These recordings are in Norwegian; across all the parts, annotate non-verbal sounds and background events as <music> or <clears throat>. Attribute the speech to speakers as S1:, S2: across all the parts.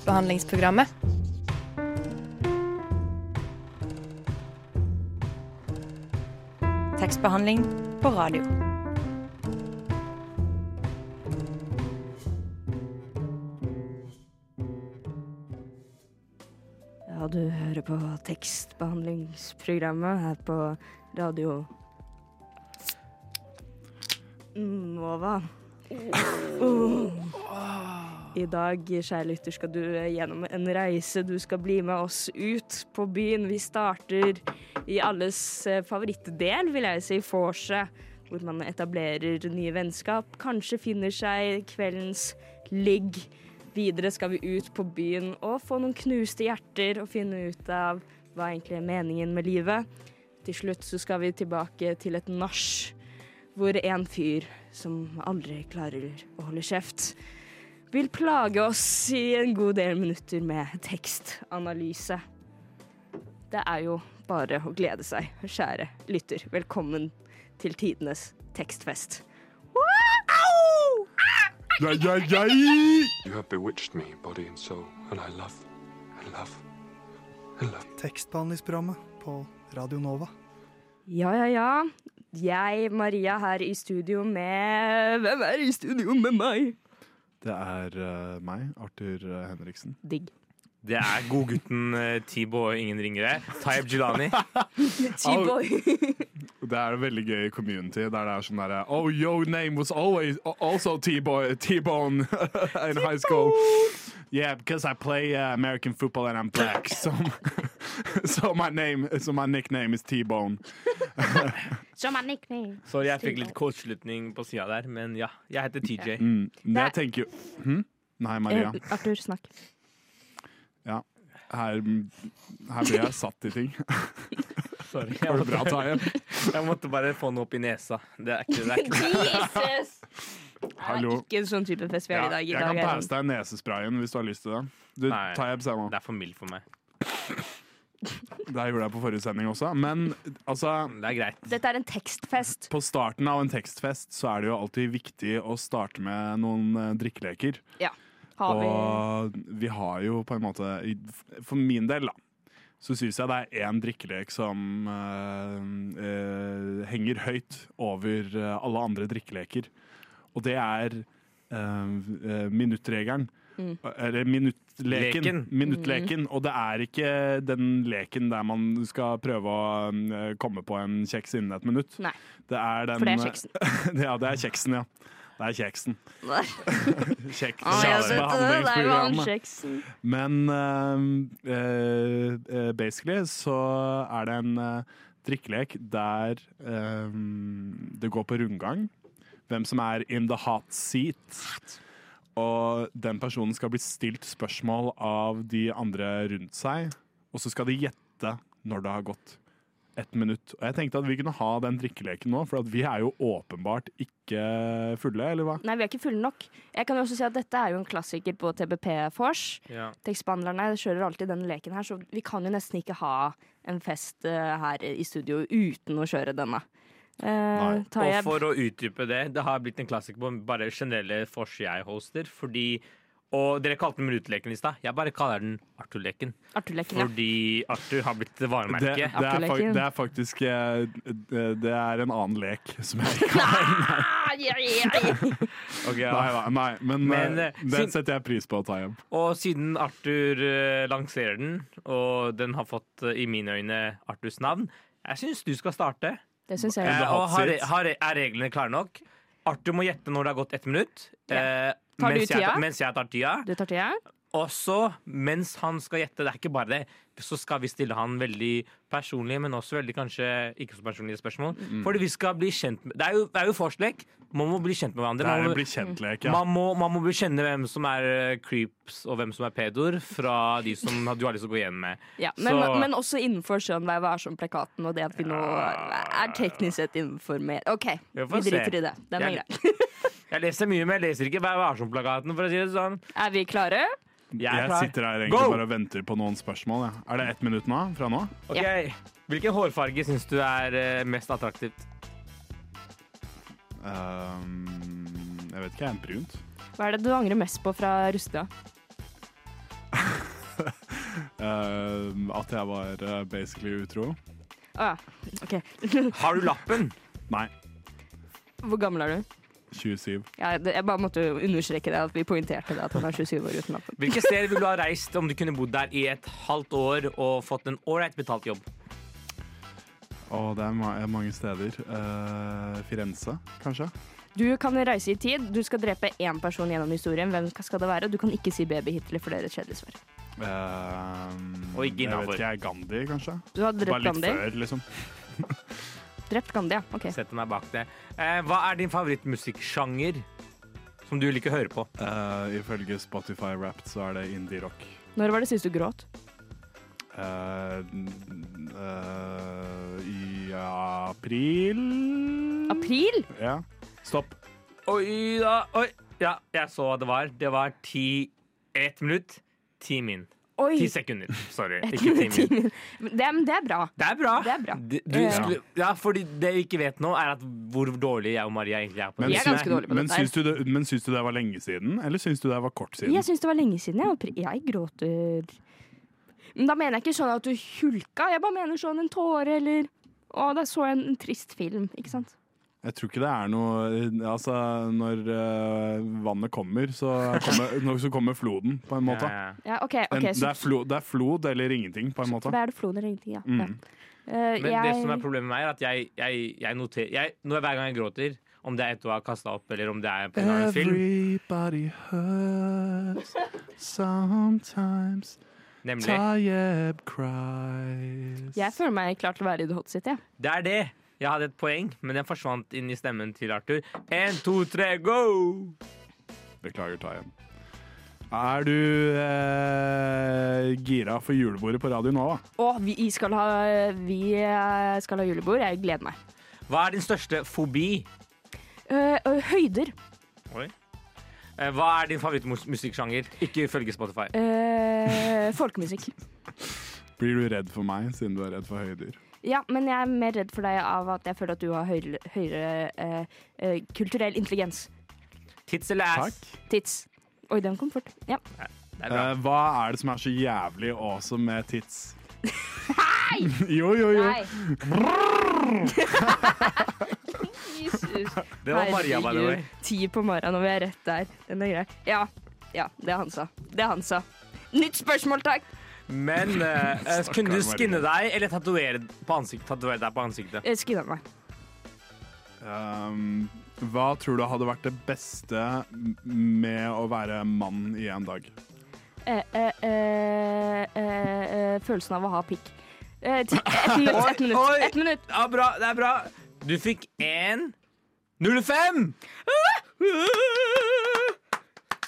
S1: tekstbehandlingsprogrammet.
S2: Tekstbehandling på radio.
S3: Ja, du hører på tekstbehandlingsprogrammet her på radio Nova. Uh. I dag, kjære lytter, skal du eh, gjennom en reise. Du skal bli med oss ut på byen. Vi starter i alles eh, favorittdel, vil jeg si, vorset. Hvor man etablerer nye vennskap. Kanskje finner seg kveldens ligg. Videre skal vi ut på byen og få noen knuste hjerter og finne ut av hva egentlig er meningen med livet. Til slutt så skal vi tilbake til et nach hvor en fyr som aldri klarer å holde kjeft, vil plage oss i en god del minutter med tekstanalyse. Det er jo bare å glede seg, kjære lytter. Velkommen til tidenes tekstfest. Wow!
S4: You have bewitched me, body and soul, and I love, I love, I love.
S5: Tekstbehandlingsprogrammet på Radio Nova.
S3: Ja, ja, ja. Jeg, Maria, her i studio med Hvem er i studio med meg?
S6: Det er eh, meg, Arthur eh, Henriksen.
S3: Digg.
S7: Det er godgutten eh, Tibo og ingen ringere. Taib Jilani.
S3: T-boy.
S6: Det er en veldig gøy community der det er sånn derre Oh, your name was always also T-boy- T-bone <laughs> in high school. Yeah, because I play uh, American football and I'm
S3: <laughs>
S6: black. So, <laughs> so my name, so my nickname is T-bone.
S7: Sorry, jeg fikk litt kortslutning på sida der, men ja. Jeg heter TJ.
S6: Mm. Det
S3: Nei.
S6: jeg tenker jo hm? Nei,
S3: Eh,
S6: Maria.
S3: Arthur, snakk.
S6: Her, her blir jeg satt i ting.
S7: Sorry.
S6: Går
S7: Jeg
S6: det bra,
S7: måtte,
S3: <laughs>
S6: Tajem?
S7: jeg måtte bare få den opp i nesa. Det er ikke, det er ikke.
S3: Jesus!
S6: <laughs> Hallo.
S3: Ikke en sånn type fest vi har i
S6: Ja,
S3: dag. I
S6: jeg
S3: dag
S6: kan
S3: er
S6: passe deg nesesprayen hvis du har lyst til det. Du,
S7: Nei.
S6: Tajem, se nå.
S7: Det er for mildt for meg.
S6: Det gjorde jeg på forrige sending også. Men altså
S7: Det er greit.
S3: Dette er en tekstfest.
S6: på starten av en tekstfest så er det jo alltid viktig å starte med noen eh, drikkeleker.
S3: Har vi
S6: Og vi har jo på en måte i- For min del, da, så syns jeg det er én drikkelek som eh, eh, henger høyt over eh, alle andre drikkeleker. Og det er eh, eh, minuttregelen.
S3: Mm.
S6: Eller minuttleken.
S7: Leken.
S6: Minuttleken. Og det er ikke den leken der man skal prøve å eh, komme på en kjeks innen et minutt.
S3: Nei.
S6: Det er den
S3: For det er kjeksen.
S6: <laughs> ja, det er kjeksen, ja. Det er kjeksen. Kjeks-
S3: Å, jeg synes det, det er jo han
S6: Behandlingsprogrammet.
S3: kjeksen.
S6: Men eh, eh, eh, basically så er det en eh, drikkelek der eh, det går på rundgang. Hvem som er in the hot seat. Og den personen skal bli stilt spørsmål av de andre rundt seg. Og så skal de gjette når det har gått ett minutt. Og jeg tenkte at vi kunne ha den drikkeleken nå, for at vi er jo åpenbart ikke fulle, eller hva?
S3: Nei, vi er ikke fulle nok. Jeg kan jo også si at Dette er jo en klassiker på TBP Fors.
S7: Ja.
S3: Tekstbehandlerne kjører alltid denne leken her, så vi kan jo nesten ikke ha en fest eh, her i studio uten å kjøre denne. Eh,
S6: Nei.
S3: tar
S7: Og
S3: jeg
S7: for å utdype det, det har blitt en klassiker på bare generelle forsi jeg hoster, fordi Og dere kalte den Ruteleken i stad. Jeg bare kaller den Arthur-leken.
S3: Arthur-leken, ja.
S7: Fordi Arthur har blitt
S6: Det, det,
S7: varemerke.
S6: er, fa
S3: Akkeleken.
S6: det er faktisk eh, Det det er en annen lek som jeg ikke
S7: <laughs>
S6: har.
S7: Ok, ja.
S6: Nei, nei, nei, men,
S7: Men,
S6: eh,
S7: eh,
S6: det
S7: siden-
S6: setter jeg pris på, Tayem.
S7: Og siden Arthur eh, lanserer den, og den har fått, eh, i mine øyne, Arthurs navn, jeg syns du skal starte.
S3: Det syns jeg.
S7: Eh,
S6: the hot
S7: og har,
S6: seat.
S7: har, er reglene klare nok? Arthur må gjette når det har gått ett minutt. eh,
S3: Tar du
S7: mens, jeg,
S3: tida?
S7: tar- mens jeg tar tida.
S3: Du tar tida?
S7: Og så, mens han skal gjette, det er ikke bare det, så skal vi stille han veldig personlige, men også veldig kanskje ikke så personlige spørsmål. Fordi vi skal bli kjent med Det er jo, det er jo forslek. Man må bli kjent med
S6: Det
S7: hverandre.
S6: er
S7: Man
S6: en
S7: må,
S6: bli kjent-lek. Ja.
S7: man må, man må kjenne hvem som er eh, creeps og hvem som er pedoer, fra de som <laughs> du har lyst til å gå igjen med.
S3: Ja, men,
S7: Så-
S3: men også innenfor skjønn vær varsom-plakaten og det at vi nå er teknisk sett innenfor mer. OK, vi
S7: Vi
S3: driter
S7: får se.
S3: i det. Den er
S7: Jeg-
S3: grei.
S7: Jeg leser mye, men jeg leser ikke Vær varsom-plakaten, for å si det sånn.
S3: Er vi klare?
S7: Jeg er
S6: Jeg
S7: klar.
S6: sitter her
S7: Go!
S6: egentlig bare og venter på noen spørsmål. Ja. Er det ett minutt nå? Fra nå?
S7: Ok, Hvilken hårfarge syns du er eh, mest attraktivt?
S6: Ehm, jeg vet ikke. Er det brunt?
S3: Hva er det du angrer mest på fra Rustøya?
S6: eh, at jeg var eh, basically utro.
S3: Ah, OK.
S7: Har du lappen?
S6: Nei,
S3: Hvor gammel er du?
S6: 27.
S3: Ja, det, jeg bare måtte understreke det, at vi poengterte det, at han er 27 år uten lappen.
S7: Hvilke steder ville du ha reist om du kunne bodd der i et halvt år og fått en ålreit betalt jobb?
S6: Og det er ma mange steder. Eh, Firenze, kanskje?
S3: Du kan reise i tid. Du skal drepe én person gjennom historien. Hvem skal det være? Du kan ikke si baby-Hitler, for det er et kjedelig svar.
S6: Eh,
S7: Og ikke
S6: Jeg
S7: innenfor.
S6: vet ikke, Gandhi, kanskje?
S3: Du har
S6: Bare
S3: drept
S6: litt
S3: Gandhi.
S6: før, liksom.
S3: Drept Gandhi, ja. OK.
S7: Sett meg bak det. Eh, hva er din favorittmusikksjanger som du liker å høre på?
S6: Eh, ifølge Spotify Wrapped så er det indie-rock.
S3: Når var det sist du gråt?
S6: Eh, n- eh, I april
S3: April?
S6: Ja. Stopp.
S7: Oi da, oi. Ja, jeg så hva det var. Det var ti Ett minutt. Ti min.
S3: Oi!
S7: Ti sekunder.
S3: <laughs>
S7: Sorry. Ikke ti min.
S3: Timen. Men Det, men det er bra.
S7: Det er bra.
S3: Det er bra.
S7: Du, du
S3: Eh.
S7: skulle, ja, fordi det vi ikke vet nå, er at hvor dårlig jeg og Maria egentlig er på
S6: Men
S3: Vi er
S6: sy-
S3: ganske dårlige på
S6: men
S3: dette her.
S6: syns du det. Men syns du det var lenge siden, eller syns du det var kort siden?
S3: Jeg syns det var lenge siden. Jeg, oppri- jeg gråter Men da mener jeg ikke sånn at du hulka, jeg bare mener sånn en tåre eller Å, der så jeg en, en trist film, ikke sant?
S6: Jeg tror ikke det er noe Altså, når eh, vannet kommer, så kommer,
S3: <laughs>
S6: når- så kommer floden, på en måte.
S7: Ja, ja.
S3: Ja, OK.
S6: En,
S3: ok,
S6: det,
S3: så,
S6: er flo, det er flod eller ingenting, på en måte.
S3: da er det floden eller ingenting, ja. ja.
S6: Mm.
S3: Eh,
S7: Men det
S3: jeg,
S7: som er problemet med meg, er at jeg, jeg, jeg noterer jeg, når, Hver gang jeg gråter, om det er etter å ha kasta opp, eller om det er på en annen film
S6: Everybody hurts sometimes.
S7: Nemlig.
S6: Tayeb cries.
S3: jeg føler meg klar til å være i the hot seat, jeg.
S7: Det er det! Jeg hadde et poeng, men den forsvant inn i stemmen til Arthur. En, to, tre, go!
S6: Beklager, Tayeb. Er du eh, gira for julebordet på Radio Nova?
S3: Å, vi skal ha, vi eh, skal ha julebord. Jeg gleder meg.
S7: Hva er din største fobi?
S3: Eh, eh, høyder.
S7: Eh, Hva er din favorittmusikksjanger? Ikke ifølge Spotify.
S3: Eh,
S7: <laughs>
S3: folkemusikk.
S6: Blir du redd for meg, siden du er redd for høyder?
S3: Ja, men jeg er mer redd for deg av at jeg føler at du har høyere, høyere eh, eh, kulturell intelligens.
S7: Tits eller ass?
S6: Takk.
S3: Tits. Oi, den kom fort. Ja.
S7: Det er bra.
S6: Eh, hva er det som er så jævlig awesome med tits? <laughs> jo, jo, jo.
S3: <laughs> Jesus.
S7: Det var Maria, by the way.
S3: Ti på morgenen, og vi er rett der. Den er grei. Ja. ja, det han sa. Det han sa. Nytt spørsmål, takk.
S7: Men
S6: <laughs>
S7: eh, eh,
S6: Stakkars
S7: kunne du
S6: Maria.
S7: skinne deg eller tatovere på ansikt- tatovere deg på ansiktet?
S3: Jeg Skriv Eh, av meg.
S6: Um, hva tror du hadde vært det beste m- med å være mann i en dag?
S3: Eh, eh, eh, eh, eh, følelsen av å ha pikk. Eh, ti-
S7: <laughs>
S3: Ett minutt, ett
S7: Oi,
S3: minutt.
S7: oi.
S3: Ett minutt.
S7: Ja, bra, det er bra. Du fikk én
S3: <laughs>
S7: 05!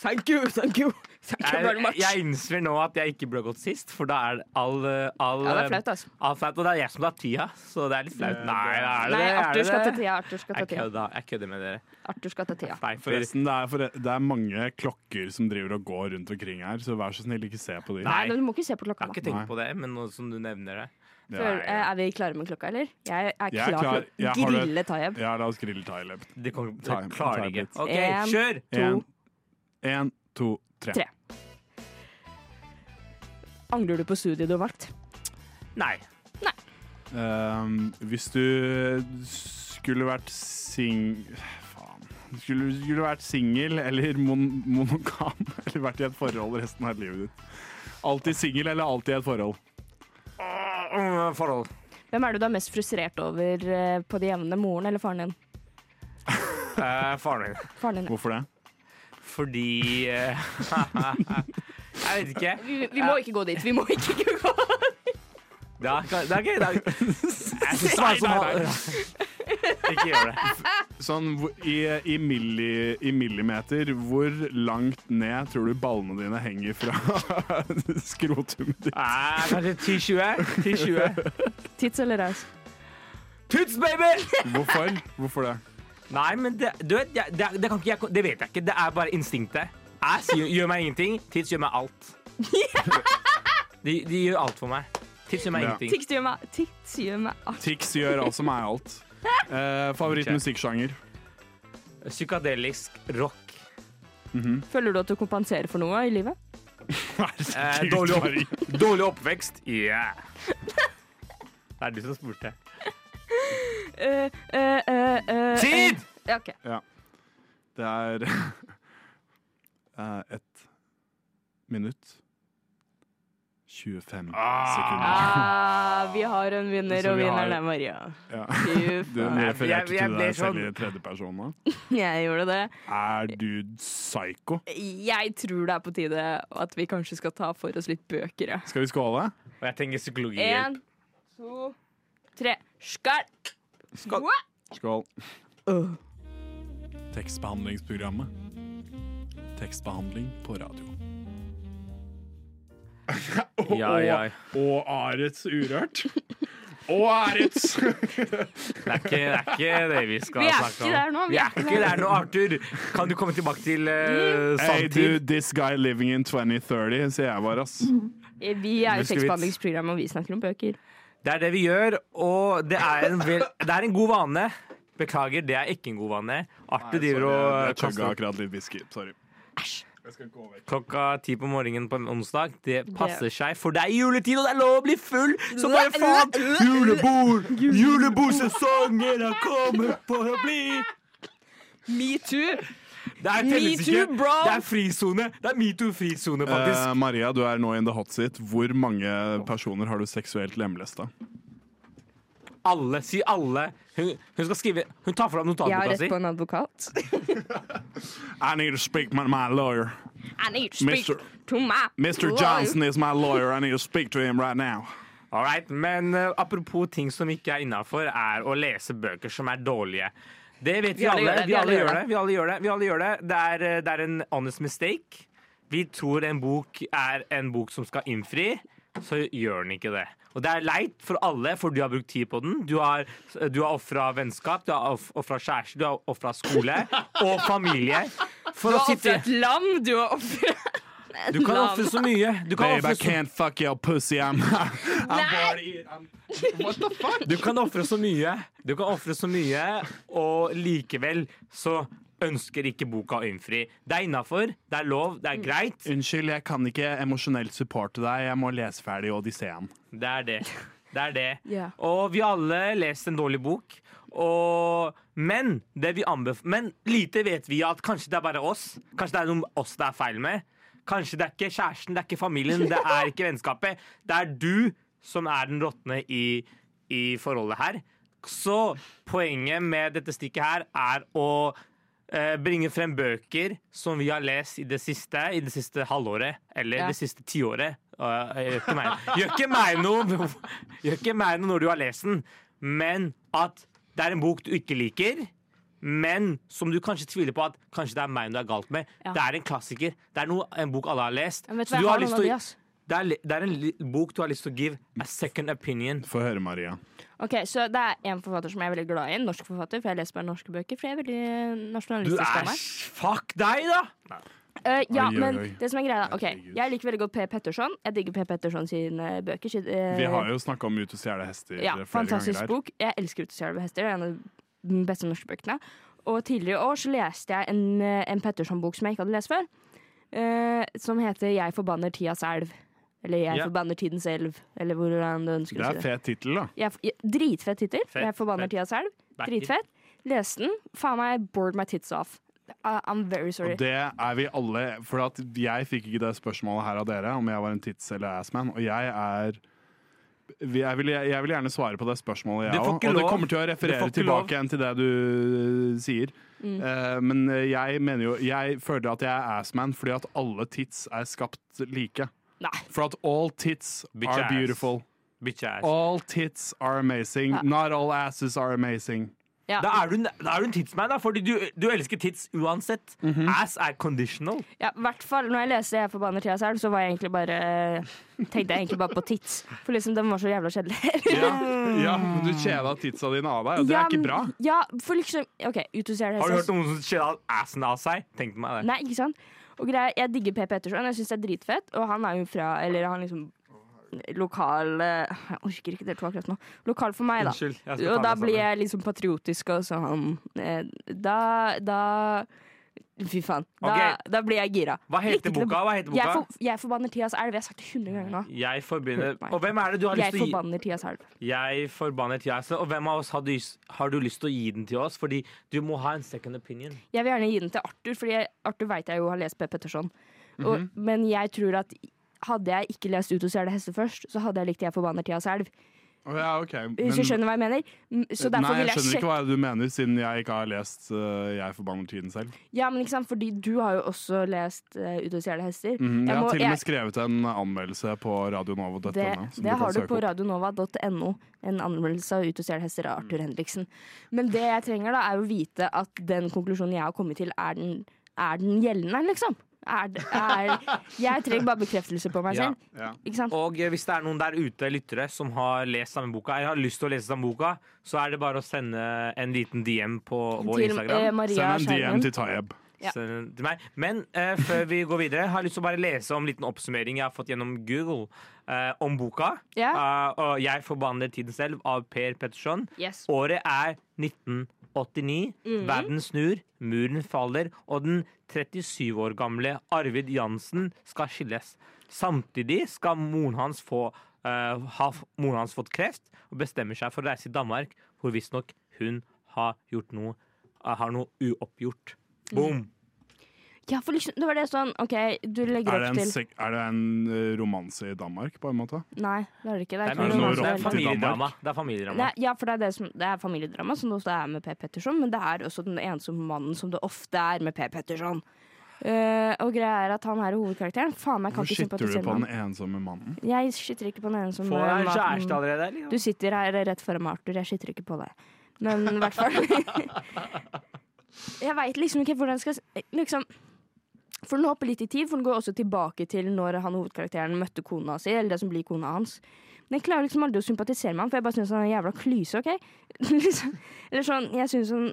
S3: Thank you, thank you. Thank you very
S7: Jeg,
S3: much.
S7: jeg innser nå at jeg ikke burde gått sist, for da er det all, eh, all eh,
S3: Ja, det er flaut, altså.
S7: all flaut, Og det er jeg som tar tida, så det er litt flaut. Nei, er det
S3: Nei,
S7: det? Er
S3: Arthur
S7: det
S3: skal ta
S7: det?
S3: tida. Arthur skal ta
S7: Jeg
S3: tida.
S7: kødda- Jeg kødder med dere.
S3: Arthur skal ta tida.
S7: Nei, for
S6: Forresten, det er, for, det er mange klokker som driver og går rundt omkring her, så vær så snill, ikke se på de.
S7: Nei.
S3: Nei, men du må ikke se på klokka.
S7: Jeg har
S3: da.
S7: ikke tenkt
S6: Nei.
S7: på det, men nå som du nevner det
S6: Ja,
S3: Før,
S6: ja.
S3: eh, er vi klare med klokka, eller? Jeg er
S6: Jeg er
S3: klar,
S6: klar. Jeg
S3: til
S6: har
S3: å
S6: det.
S3: grille Tayeb.
S6: Ja, la oss grille Tyleb.
S7: Det kommer, det
S6: Ta en-
S7: klarer
S6: ta
S7: de
S6: en
S7: ikke.
S6: bit.
S7: OK,
S3: En,
S7: kjør!
S3: To.
S6: Én, to, tre.
S3: Tre. Angrer du på studiet du har valgt?
S7: Nei.
S6: Um, hvis du skulle vært sing... Faen. Skulle, skulle vært singel eller mon monogam <laughs> eller vært i et forhold resten av livet ditt. Alltid singel eller alltid i et forhold?
S7: Mm, Forhold.
S3: Hvem er du da mest frustrert over eh, på det jevne? Moren eller faren din?
S7: Eh, faren min.
S3: Faren din.
S6: Hvorfor det?
S7: Fordi eh, <laughs> Jeg vet ikke.
S3: Vi, vi må ikke gå dit. Vi må ikke gå
S7: Det er, det er gøy. Det er,
S6: <laughs>
S7: jeg synes det
S6: Nei,
S7: var som
S6: nei,
S7: Ikke gjør det.
S6: Sånn hvor- i, i, milli, i millimeter, hvor langt ned tror du ballene dine henger fra <laughs> skrotumet ditt?
S7: Eh, kanskje 10-20. 10-20.
S3: <laughs>
S6: <laughs>
S3: Tits eller raus?
S7: Tuts, baby!
S6: Hvorfor? Hvorfor det?
S7: Nei, men det, du vet, jeg, det, det, kan ikke, jeg, det vet jeg ikke. Det er bare instinktet. Ass gjør, gjør meg ingenting. Tits gjør meg <laughs> alt. De, de gjør alt for meg. Tits gjør meg
S6: Ja.
S7: ingenting.
S3: Tix gjør meg Tix gjør meg ah,
S6: Tix gjør alt som er alt. Eh, Favorittmusikksjanger?
S7: Psykadelisk rock.
S3: Føler du at du kompenserer for noe i livet?
S7: Eh, dårlig, opp, dårlig oppvekst. Yeah. <laughs> Det er du som spurte.
S3: Eh, eh, eh, eh, eh.
S7: Tid!
S3: Ja, OK.
S6: Det er <laughs> eh, ett minutt 25 sekunder.
S3: Ah, vi har en vinner,
S6: Så
S3: og
S6: vi har-
S3: vinneren er Maria.
S6: Ja. <laughs>
S3: Fy
S6: Du
S3: faen.
S7: jeg-
S6: refererte
S7: jeg
S6: til
S7: ble
S6: deg selv i
S7: sånn-
S6: tredjeperson nå.
S3: Jeg gjorde det.
S6: Er du psycho?
S3: Jeg tror det er på tide at vi kanskje skal ta for oss litt bøker, ja.
S6: Skal vi skåle?
S7: Og jeg trenger psykologihjelp.
S3: En, to, tre. Skål!
S7: Skål.
S3: Wow!
S6: Skål.
S3: Øh.
S6: Tekstbehandlingsprogrammet. Tekstbehandling på radio.
S7: Ja, ja.
S6: Og Arets Urørt. Og Arets!
S7: Det er, ikke, det er ikke det vi skal
S3: Vi er
S7: snakke om.
S3: ikke der Mm. nå, vi
S7: Vi
S3: er
S7: er ikke der nå, Arthur. Kan du komme tilbake til uh,
S6: hey,
S7: sanntid?
S6: dude, this guy living in 2030, sier jeg bare, ass.
S3: Vi er jo
S7: Husker vi-
S3: tekstbehandlingsprogram, og vi snakker om bøker.
S7: Det er det vi gjør, og det er en, vel, det er en god vane. Beklager, det er ikke en god vane. Arthur driver
S6: Jeg
S7: og
S6: chugga
S7: kaster
S6: akkurat litt whisky. Sorry.
S7: klokka ti på morgenen på en onsdag. Det passer seg, for det er juletid, og det er lov å bli full! Så bare faen! Julebord! Julebordsesongen har kommet for å bli!
S3: Metoo!
S7: Det er
S3: Me
S7: tellesikker.
S3: too, bro.
S7: Det er frisone. Det er metoo-frisone, faktisk.
S6: Eh, Maria, du er nå in the hot seat. Hvor mange personer har du seksuelt lemlesta?
S7: alle. Si alle. Hun, hun skal skrive Hun tar fram
S3: Jeg har
S7: notatboka
S3: rett
S7: si.
S3: på en advokat.
S6: I need to speak to my lawyer.
S3: I need to speak
S6: Mister-
S3: to my
S6: Mr. Johnson is my lawyer. I need to speak to him right now.
S7: All right, Men eh, apropos ting som ikke er innafor, er å lese bøker som er dårlige. Det vet vi, alle. Vi alle gjør det. Vi alle gjør det. Vi alle gjør det. Det er, eh, det er en honest mistake. Vi tror en bok er en bok som skal innfri, så gjør den ikke det. Og det er leit for alle, for du har brukt tid på den. Du har, du har ofra vennskap, du har of- ofra kjæreste, du har ofra skole <laughs> og familie. For
S3: Du
S7: å
S3: har
S7: sitte
S3: ofret et lam, du har ofret
S7: Du kan ofre så mye. Du kan
S6: Babe,
S7: ofre
S6: I
S7: så
S6: can't fuck your pussy. I'm, <laughs>
S7: Du kan ofre så mye, du kan ofre så mye, og likevel så ønsker ikke boka å innfri. Det er innafor, det er lov, det er greit.
S6: Unnskyld, jeg kan ikke emosjonelt supporte deg. Jeg må lese ferdig Odysseen.
S7: Det er det. Det er det.
S3: Ja.
S7: Og vi alle lest en dårlig bok. Og, men, det vi anbef men lite vet vi at kanskje det er bare oss. Kanskje det er noen oss det er feil med. Kanskje det er ikke kjæresten, det er ikke familien, det er ikke vennskapet. Det er du som er den råtne i, i forholdet her. Så poenget med dette stikket her er å eh, bringe frem bøker som vi har lest i det siste, i det siste halvåret, eller
S3: Ja.
S7: det siste tiåret. Uh, gjør ikke meg- gjør ikke meg noe <laughs> Gjør ikke meg noe når du har lest den, men at det er en bok du ikke liker, men som du kanskje tviler på at kanskje det er meg du er galt med.
S3: Ja.
S7: Det er en klassiker. Det er noe, en bok alle har lest.
S3: Vet du
S7: Så
S3: hva,
S7: du
S3: jeg
S7: har
S3: har
S7: lyst
S3: noen av
S7: til å-
S3: de, ass.
S7: det er, li- det er en li bok du har lyst til å give a second opinion.
S6: Få høre, Maria.
S3: Ok, så Det er en forfatter som jeg er veldig glad i. En norsk forfatter, for jeg leser bare norske bøker. For jeg er veldig eh,
S7: Du
S3: nasjonalistisk av
S7: er
S3: meg.
S7: Fuck deg, da!
S3: Eh, ja,
S6: Oi, oi,
S3: men
S6: oi.
S3: det som er greia da, ok,
S6: Herregud.
S3: Jeg liker veldig godt P. Petterson. Jeg digger P. Petterson sine bøker. sitt, eh,
S6: Vi har jo snakka om Ut og stjele hester
S3: ja,
S6: flere
S3: Fantastisk
S6: ganger her.
S3: bok. Jeg elsker Ut og stjele hester. Det er en av de beste norske bøkene. Og tidligere i år så leste jeg en, eh, en Petterson-bok som jeg ikke hadde lest før. eh, som heter 'Jeg forbanner tidas elv'. Eller 'Jeg
S7: Ja.
S3: forbanner tidens elv'. Eller hvordan du ønsker
S6: Det
S3: å si
S6: er
S3: det.
S6: fet tittel, da.
S3: Jeg, jeg, dritfett tittel.
S7: Fett,
S3: Jeg forbanner
S7: fett.
S3: tidas elv. Dritfett. Leste den. Faen meg, bored my tits off. I, I'm very sorry.
S6: Og det er vi alle. For at jeg fikk ikke det spørsmålet her av dere om jeg var en tits- eller assman. Og jeg er vi- jeg vil, jeg vil gjerne svare på det spørsmålet, jeg
S7: Du får
S6: òg.
S7: ikke
S6: Og det
S7: lov.
S6: kommer til å
S7: Du
S6: referere
S7: får ikke lov. Mm.
S6: tilbake igjen til det du sier. Eh, men jeg mener jo Jeg føler at jeg er assman fordi at alle tits er skapt like.
S3: Nei.
S6: For at all tits
S7: Bitch
S6: are
S7: ass.
S6: beautiful.
S7: Bitch ass.
S6: All tits are amazing. Not all asses are amazing.
S3: Ja.
S7: Da er du, en- da er du en tidsman, da, fordi du, du elsker tits uansett. Ass er conditional.
S3: Ja, i hvert fall når jeg leste 'Jeg forbanner Thea selv', så var jeg egentlig bare tenkte jeg egentlig bare på tits. For liksom, den var så jævla kjedelig. <laughs>
S6: Ja, ja men du kjeda titsa dine av deg, og det
S3: Ja,
S6: er ikke
S3: men-
S6: bra.
S3: Ja, for liksom OK, ut og ser det.
S7: Har du hørt noen som skjeller assen av seg? Tenk meg det.
S3: Nei, ikke sant? Og greia, jeg digger P. Petterson, jeg syns det er dritfett, og han er jo fra Eller han liksom Lokal eh, Jeg orker ikke dere to akkurat nå. Lokal for meg, da.
S7: Unnskyld. Jeg skal
S3: Og
S7: ta
S3: da
S7: meg
S3: blir liksom
S7: sammen.
S3: jeg liksom patriotisk og sånn eh, Da, da Fy faen. Da,
S7: Ok.
S3: da blir jeg gira.
S7: Hva heter
S3: Lykke til å-
S7: boka? Hva heter
S3: Jeg,
S7: boka?
S3: for, jeg forbanner Tias elv. Jeg har sagt det 100 ganger nå.
S7: Jeg forbinder
S3: Hør på meg.
S7: Og hvem er det du har lyst
S3: Jeg
S7: til å gi?
S3: forbanner Tias elv.
S7: Jeg forbanner Tia Eise. Og hvem av oss har du, har du lyst til å gi den til oss? Fordi du må ha en second opinion.
S3: Jeg vil gjerne gi den til Arthur, Fordi jeg, Arthur vet jeg jo har lest Per Petterson. Og,
S6: Mhm.
S3: Men jeg tror at hadde jeg ikke lest Ut og stjele hester først, så hadde jeg likt Jeg forbanner Tias elv.
S6: Å, ja, ok.
S3: Hvis du skjønner hva jeg mener? Mm, Så derfor
S6: nei,
S3: vil
S6: jeg
S3: jeg
S6: skjønner
S3: sjekke
S6: ikke hva du mener, siden jeg ikke har lest eh, Jeg forbanner tiden selv.
S3: Ja, men ikke sant, fordi du har jo også lest eh, Ut og stjele hester.
S6: Mhm, jeg,
S3: Jeg må-
S6: har til og
S3: jeg-
S6: med skrevet en anmeldelse på Radio Nova.
S3: Det, det har du på radionova.no. En anmeldelse av Ut og stjel hester av
S6: Mm.
S3: Arthur Henriksen. Men det jeg trenger, da, er å vite at den konklusjonen jeg har kommet til, er den, er den gjeldende, liksom. Er, det-
S6: <laughs>
S3: er, jeg trenger bare bekreftelse på meg
S7: Ja.
S3: selv.
S6: Ja.
S3: Ikke sant?
S7: Og eh, hvis det er noen der ute, lyttere, som har lest samme boka, eller har lyst til å lese samme boka, så er det bare å sende en liten DM på vår
S3: Til eh,
S7: Instagram.
S3: Maria
S6: Send en DM
S3: Skjermen.
S6: til Tayeb.
S3: ja.
S7: Send den til meg. Men eh, før vi går videre, har jeg lyst til å bare lese om en liten oppsummering jeg har fått gjennom Google eh, om boka.
S3: Ja.
S7: Eh, og 'Jeg forbanner tiden selv' av Per Petterson.
S3: Yes.
S7: Året er 1989. Verden snur, muren faller, og den 37 år gamle Arvid Jansen skal skilles. Samtidig skal moren hans få, eh, ha f- moren hans fått kreft og bestemmer seg for å reise til Danmark, hvor visstnok hun har gjort noe, eh, har noe uoppgjort. Boom!
S3: Ja, for liksom, det var det sånn OK, du legger
S6: Er det,
S3: opp
S6: en,
S3: til
S6: sek- er det en eh, romanse i Danmark, på en måte?
S3: Nei, det er det ikke. Det
S7: Det
S3: er,
S7: er,
S3: ikke
S6: mye
S3: noe
S6: noe
S3: romanse.
S7: det er
S6: rått i
S7: familiedrama.
S6: Danmark.
S7: Det er familiedrama.
S3: Nei, ja, for det er, det, som, det er familiedrama, som det også er med P. Petterson, men det er også den ensomme mannen som det ofte er med P. Petterson. Eh, og greia er at han her er hovedkarakteren. Faen, jeg kan
S6: Hvorfor
S3: ikke
S6: sitter du
S3: sympatisere
S6: på den
S3: med han.
S6: ensomme mannen?
S3: Jeg sitter ikke på den ensomme
S7: Får jeg en kjæreste
S3: mannen.
S7: allerede? eller?
S3: Du sitter her rett foran meg, Arthur. Jeg sitter ikke på deg. Men i hvert fall Jeg veit liksom ikke hvordan jeg skal s- liksom, For den hopper litt i tid, for den går også tilbake til når han hovedkarakteren møtte kona si, eller det som blir kona hans. Men jeg klarer liksom aldri å sympatisere med han, for jeg bare syns han er en jævla klyse, OK? <laughs> liksom, eller sånn, jeg syns han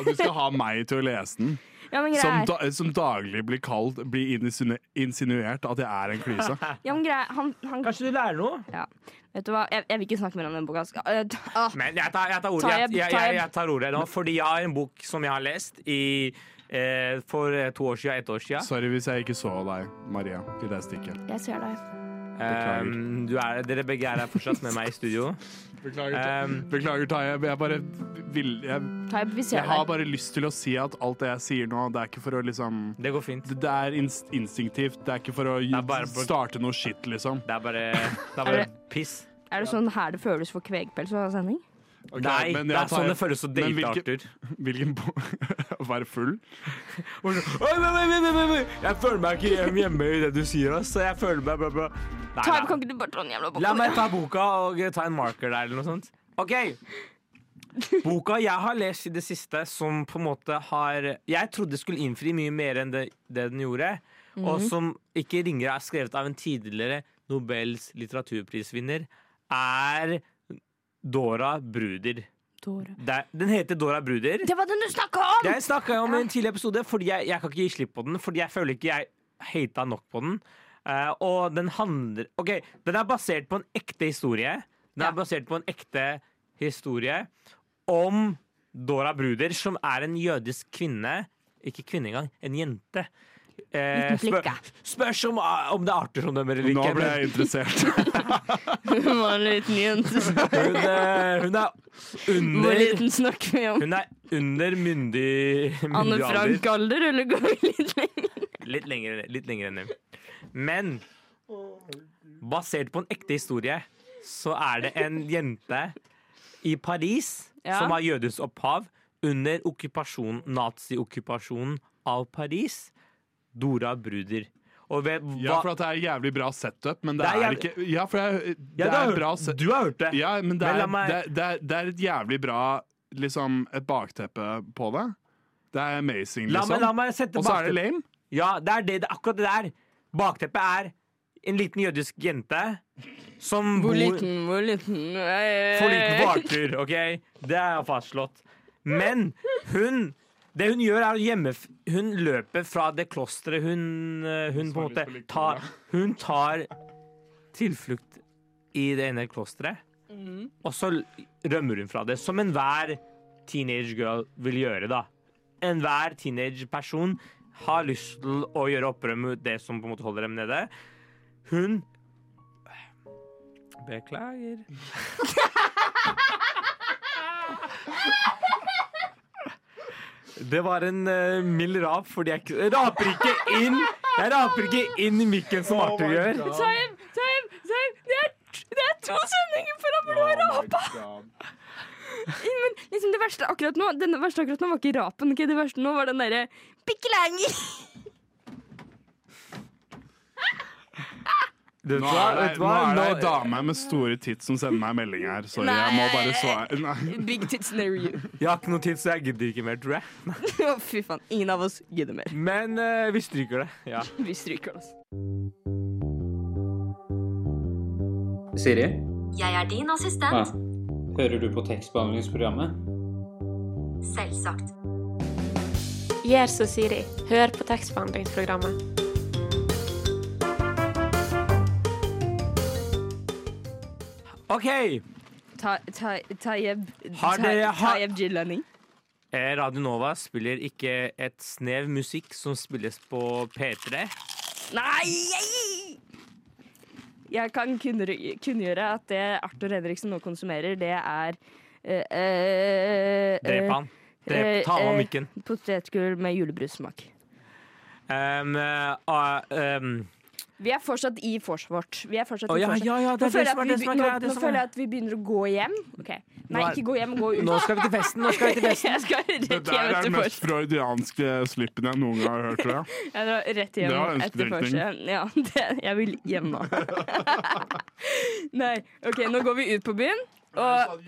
S6: Og du skal ha meg til å lese den,
S3: Ja, men
S6: som,
S3: greier.
S6: da, som daglig blir kalt Blir insinuert, insinuert at jeg er en klyse. <laughs>
S3: Ja, men greier. Han, han
S7: Kanskje du lærer noe?
S3: ja. Vet du hva, jeg, jeg vil ikke snakke mer om den boka. Skal- eh, ah.
S7: Men jeg tar, jeg tar ordet, jeg,
S3: Tayeb,
S7: jeg, jeg,
S3: Tayeb.
S7: jeg tar ordet nå, fordi jeg har en bok som jeg har lest i, eh, for eh, to år siden, ett år siden.
S6: Sorry hvis jeg ikke så deg, Maria, i det stikket.
S3: Jeg ser deg.
S6: beklager.
S7: Um, du er, dere begge er her fortsatt med meg i studio.
S6: Beklager,
S7: Um,
S6: Eh, Beklager Tayeb. Jeg bare vil jeg,
S3: Taib, vi ser
S6: jeg har
S3: deg.
S6: bare lyst til å si at alt det jeg sier nå, det er ikke for å liksom
S7: det går fint.
S6: Det, det er inst instinktivt. Det er ikke for å
S7: er bare for-
S6: starte noe shit, liksom.
S7: Det er bare, det er bare piss.
S3: Er det sånn her det føles for kvegpels å ha sending?
S7: Nei,
S6: men
S7: det
S6: jeg
S7: er sånn
S6: tar-
S7: det føles å
S6: men
S7: date
S6: hvilke-
S7: Arthur.
S6: Hvilken bo- <laughs> Å være full?
S7: Og så, «Oi, oi, oi, oi, oi, oi, Jeg føler meg ikke hjem- hjemme i det du sier, ass. så Jeg føler meg bla, bla. Nei,
S3: Taib,
S7: nei.
S3: kan ikke du bare ta den jævla boka?
S7: La meg ta boka og ta en marker der, eller noe sånt. OK. Boka jeg har lest i det siste, som på en måte har Jeg trodde skulle innfri mye mer enn det, det den gjorde, og som ikke ringer er skrevet av en tidligere Nobels litteraturprisvinner, er Dora Bruder.
S3: Dora.
S7: Det er- Den heter Dora Bruder.
S3: Det var den du snakka om!
S7: Jeg snakka jo om i en tidligere episode, fordi jeg, jeg kan ikke gi slipp på den. Fordi jeg føler ikke jeg hata nok på den. Eh, og den handler OK, den er basert på en ekte historie. Den
S3: Ja.
S7: er basert på en ekte historie om Dora Bruder, som er en jødisk kvinne. Ikke kvinne engang, en jente. Eh,
S3: Liten flikke.
S7: spørs om, eh, om det er Arthur som dømmer eller
S6: Nå
S7: ikke.
S6: ble
S7: men-
S6: jeg
S7: <laughs>
S6: interessert.
S3: Hun var en liten jente som
S7: Hun, eh, hun er
S3: var
S7: under
S3: liten, snakker vi om.
S7: Hun er under myndig, myndig
S3: Anne
S7: alder.
S3: Frank-alder, eller går vi litt lenger?
S7: Litt lengre, litt lengre enn det. Men basert på en ekte historie, så er det en jente i Paris
S3: Ja.
S7: som har jødisk opphav under okkupasjonen, naziokkupasjonen av Paris. Dora Bruder. Og ved hva
S6: Ja, for at det er jævlig bra setup, men det,
S7: Det er
S6: er,
S7: jævlig-
S6: ikke Ja, for jeg, det
S7: Ja, du har
S6: er
S7: hørt-
S6: bra se-
S7: Du har hørt det!
S6: Ja, men det
S7: Men
S6: er,
S7: la meg-
S6: det, er- det, er, det er et jævlig bra liksom, et bakteppe på det. Det er amazing,
S7: La, meg, la
S6: liksom.
S7: meg sette
S6: Og så er det
S7: bakteppet.
S6: lame.
S7: Ja, det er det, det, er akkurat det der. Bakteppet er en liten jødisk jente som
S3: Hvor liten, hvor liten eh,
S7: For liten på Arthur, ok? Det er fastslått. Men hun Det hun gjør, er å gjemme Hun løper fra det klosteret hun eh, Hun på en måte tar Hun tar tilflukt i det ene klosteret, og så l- rømmer hun fra det. Som enhver teenage girl vil gjøre, da. Enhver teenage person har lyst til å gjøre opprør mot det som på en måte holder dem nede. Hun Beklager. Det var en eh, mild rap, fordi jeg ikke- raper ikke inn Jeg raper ikke inn i mikken som Arthur gjør.
S3: Time, time, time. Det er, det er to sendinger før han burde være rapa!
S6: Oh
S3: Men liksom det verste akkurat nå Den verste akkurat nå var ikke rapen. ok? Det verste nå var den derre Pikkelanger!
S7: Vet du
S6: Nå
S7: hva?
S6: er det,
S7: Vet du
S6: nå
S7: hva?
S6: er det ei
S7: Nå-
S6: dame med store tits som sender meg en melding her. Sorry, jeg må bare svare. Nei.
S3: Big tits near you.
S7: Jeg har ikke noe tid, så jeg gidder ikke mer, tror jeg.
S3: <laughs> Å, Fy faen. Ingen av oss gidder mer.
S7: Men eh, vi stryker det. Ja.
S3: Vi stryker oss.
S1: Siri,
S8: Jeg er din assistent,
S1: Ah. hører du på tekstbehandlingsprogrammet?
S8: selvsagt.
S9: Gjør som Siri. Hør på tekstbehandlingsprogrammet.
S7: OK!
S3: Ta, ta, Tayeb
S7: Har dere-
S3: ta,
S7: har-
S3: Tayeb Jilani.
S7: Eh, Radio Nova spiller ikke et snev musikk som spilles på P3.
S3: Nei! Jeg kan kunngjøre kunngjøre at det Arthur Henriksen nå konsumerer, det er eh, eh, eh,
S7: Drep han.
S3: eh,
S7: Drep, ta av
S3: eh,
S7: mikken.
S3: Potetgull med julebrussmak.
S7: Um, eh, ah, um,
S3: Vi er fortsatt i vors vårt. Vi er fortsatt
S7: Å,
S3: i
S7: ja,
S3: vors vårt.
S7: ja, ja,
S3: nå
S7: det er det
S3: føler jeg
S7: som er
S3: at vi
S7: det som
S3: be-
S7: er
S3: nå-
S7: greia, det
S3: nå
S7: som er-
S3: føler jeg at vi begynner å gå hjem. Ok. Nei,
S7: Nå er-
S3: ikke gå hjem, gå ut.
S7: nå skal vi til festen! Nå skal vi til
S3: <laughs>
S7: festen.
S3: Jeg skal rett
S6: Det der
S3: hjem
S6: er
S3: etter
S6: den mest
S3: vors.
S6: freudianske slippen jeg noen gang har hørt,
S3: <laughs>
S6: tror jeg.
S3: Jeg drar rett
S6: Det var
S3: hjem etter
S6: ønskedrinkning.
S3: vors. Ja, <laughs> det, jeg vil hjem nå. <laughs> Nei, OK, nå går vi ut på byen. Og,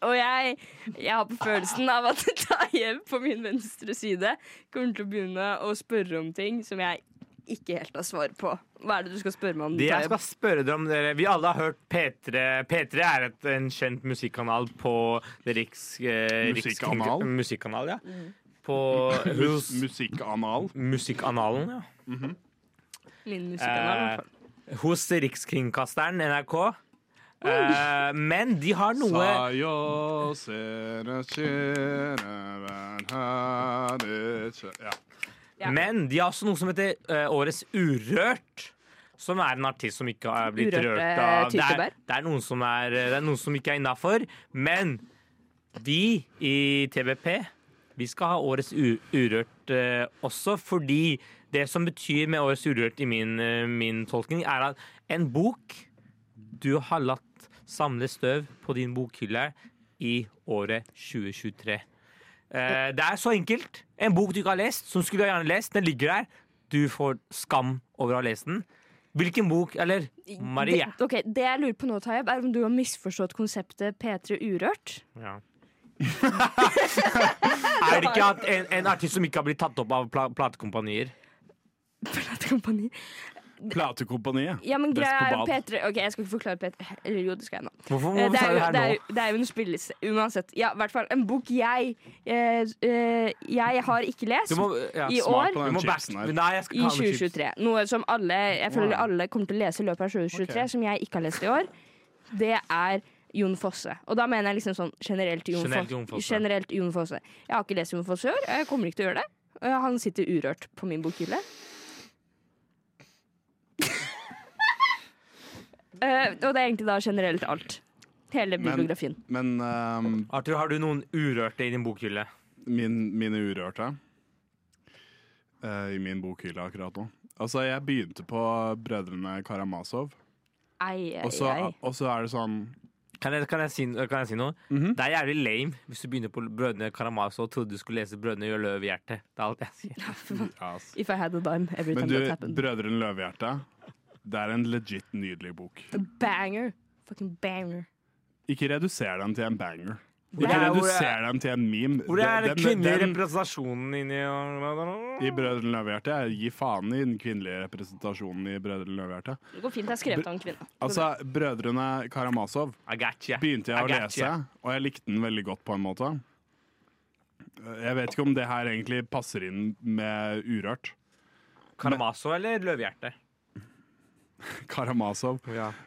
S3: og jeg, jeg har på følelsen av at Tayeb på min venstre side kommer til å begynne å spørre om ting som jeg ikke helt har svar på. Hva er Mm, det du skal spørre meg om?
S7: Det jeg
S3: Tayeb?
S7: skal spørre dere om dere Vi alle har hørt P3. P3 er et, en kjent musikkanal på det riks... Eh,
S6: Musikkanal?
S7: Riks, musikkanal, ja.
S3: Mm.
S7: På
S6: Mus
S7: hos
S6: Musikkanal.
S7: Musikkanalen, ja. Eh,
S3: Min musikkanal, i hvert fall.
S7: hos Rikskringkasteren NRK. Eh, men de har noe
S6: Sayonara, kjære venn, kjære- Ja.
S3: Ja.
S7: Men de har også noe som heter eh, Årets Urørt. Som er en artist som ikke har blitt
S3: Urørte
S7: rørt av det er,
S3: tyttebær.
S7: det, er noen som er, eh, det er noen som ikke er innafor. Men vi i TBP vi skal ha Årets u Urørt eh, også, fordi det som betyr med Årets Urørt i min, eh, min tolkning, er at en bok du har latt samle støv på din bokhylle i året 2023. Eh, det er så enkelt. En bok du ikke har lest, som skulle jeg gjerne lest, den ligger der. Du får skam over å ha lest den. Hvilken bok, eller Maria?
S3: Det, ok, det jeg lurer på nå, Tayeb, er om du har misforstått konseptet P3 Urørt. <laughs>
S7: Ja. er det ikke at en, en artist som ikke har blitt tatt opp av pla platekompanier?
S3: Platekompani.
S6: Platekompaniet.
S3: Ja, men
S6: Best
S3: greia er
S6: på bad.
S3: P3 Ok, jeg skal ikke forklare P3 Eller jo, det skal jeg nå.
S7: Hvorfor,
S3: Eh,
S7: hvorfor
S3: Det
S7: sa
S3: er, jo,
S7: du det her
S3: det, er,
S7: nå?
S3: jo- det er jo en spillelse. Uansett. Ja, i hvert fall. En bok jeg eh, eh, Jeg har ikke lest.
S7: Du må, ja,
S3: I
S7: smak
S3: år-
S7: på den
S6: Du må back-
S7: chipsen her. Nei, jeg skal
S3: I
S7: ikke ha noe chips.
S3: 2023. Noe som alle jeg føler alle kommer til å lese i løpet av 2023,
S6: Ok.
S3: som jeg ikke har lest i år. Det er Jon Fosse. Og da mener jeg liksom sånn generelt Jon,
S7: Generelt
S3: Fosse.
S7: Jon Fosse.
S3: generelt Jon Fosse. Jeg har ikke lest Jon Fosse i år, og jeg kommer ikke til å gjøre det. Og Han sitter urørt på min bokhylle. <laughs> Eh, og det er egentlig da generelt alt. Hele
S6: Men-
S3: bibliografien.
S6: Men ehm,
S7: Arthur, har du noen urørte i din bokhylle?
S6: min, mine urørte eh, i min bokhylle akkurat nå. Altså, jeg begynte på Brødrene Karamazov,
S3: Ei, ei,
S6: og så
S3: ei.
S6: og så er det sånn
S7: Kan jeg, kan jeg, si, kan jeg si noe? Det er jævlig lame hvis du begynner på Brødrene Karamazov og trodde du skulle lese Brødrene gjør løv i hjertet. Det er alt jeg sier.
S6: ja,
S7: <laughs>
S6: ass.
S3: If I had a dime every time
S6: Men du,
S3: that happened.
S6: Brødrene Løvehjerte, det er en legit nydelig bok.
S3: Banger. Fucking banger.
S6: Ikke reduser den til en banger.
S7: Hvor
S6: Ikke
S7: er- hvor
S6: reduser den til en meme.
S7: Hvor er den
S6: Den-
S7: kvinnelige
S6: den-
S7: representasjonen inni og-
S6: I Brødrene Løvehjerte? Jeg gir faen i den kvinnelige representasjonen i Brødrene Løvehjerte.
S3: Det går fint. Jeg skrev det av en kvinne.
S6: Altså, Brødrene Karamazov
S7: I got ya.
S6: begynte jeg å
S7: I got
S6: lese,
S7: ya.
S6: og jeg likte den veldig godt på en måte. Jeg vet ikke om det her egentlig passer inn med urørt. <laughs>
S7: Karamazov eller Løvehjerte?
S6: Karamazov.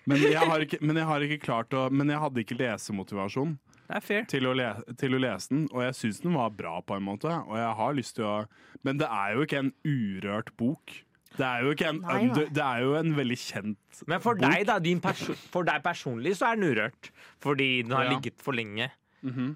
S6: Men jeg har ikke, men jeg har ikke klart å Men jeg hadde ikke lesemotivasjon.
S7: Det er fair.
S6: til å, le til å lese den, og jeg syns den var bra på en måte. Og jeg har lyst til å Men det er jo ikke en urørt bok. Det er jo, ikke en,
S3: Nei, nei.
S6: under, det er jo en veldig kjent
S7: Men for deg, da, din perso for deg personlig så er den urørt. Fordi den har
S6: Ja. Mhm.
S7: ligget for lenge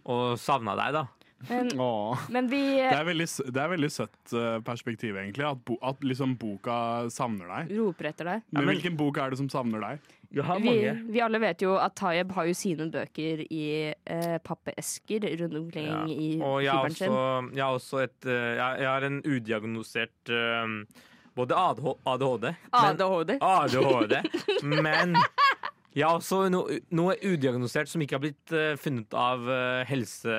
S7: og savna deg, da.
S3: Men,
S6: Åh.
S3: men vi
S6: Det er veldig, s- det er veldig søtt eh, perspektiv, egentlig. At, bo, at liksom boka savner deg.
S3: roper etter deg.
S6: Men
S7: men-
S6: hvilken bok er det som savner deg?
S7: Jeg har
S3: Vi,
S7: mange.
S3: vi alle vet jo at Tayeb har jo sine bøker i eh, pappesker rundt omkring
S7: Ja.
S3: i
S7: Og jeg har,
S3: kiberen sin.
S7: også, jeg har også et eh, Jeg, jeg har en udiagnosert eh, både ADH ADHD men,
S3: ADHD.
S7: ADHD, men jeg har også no, noe udiagnosert som ikke har blitt eh, funnet av eh, helse,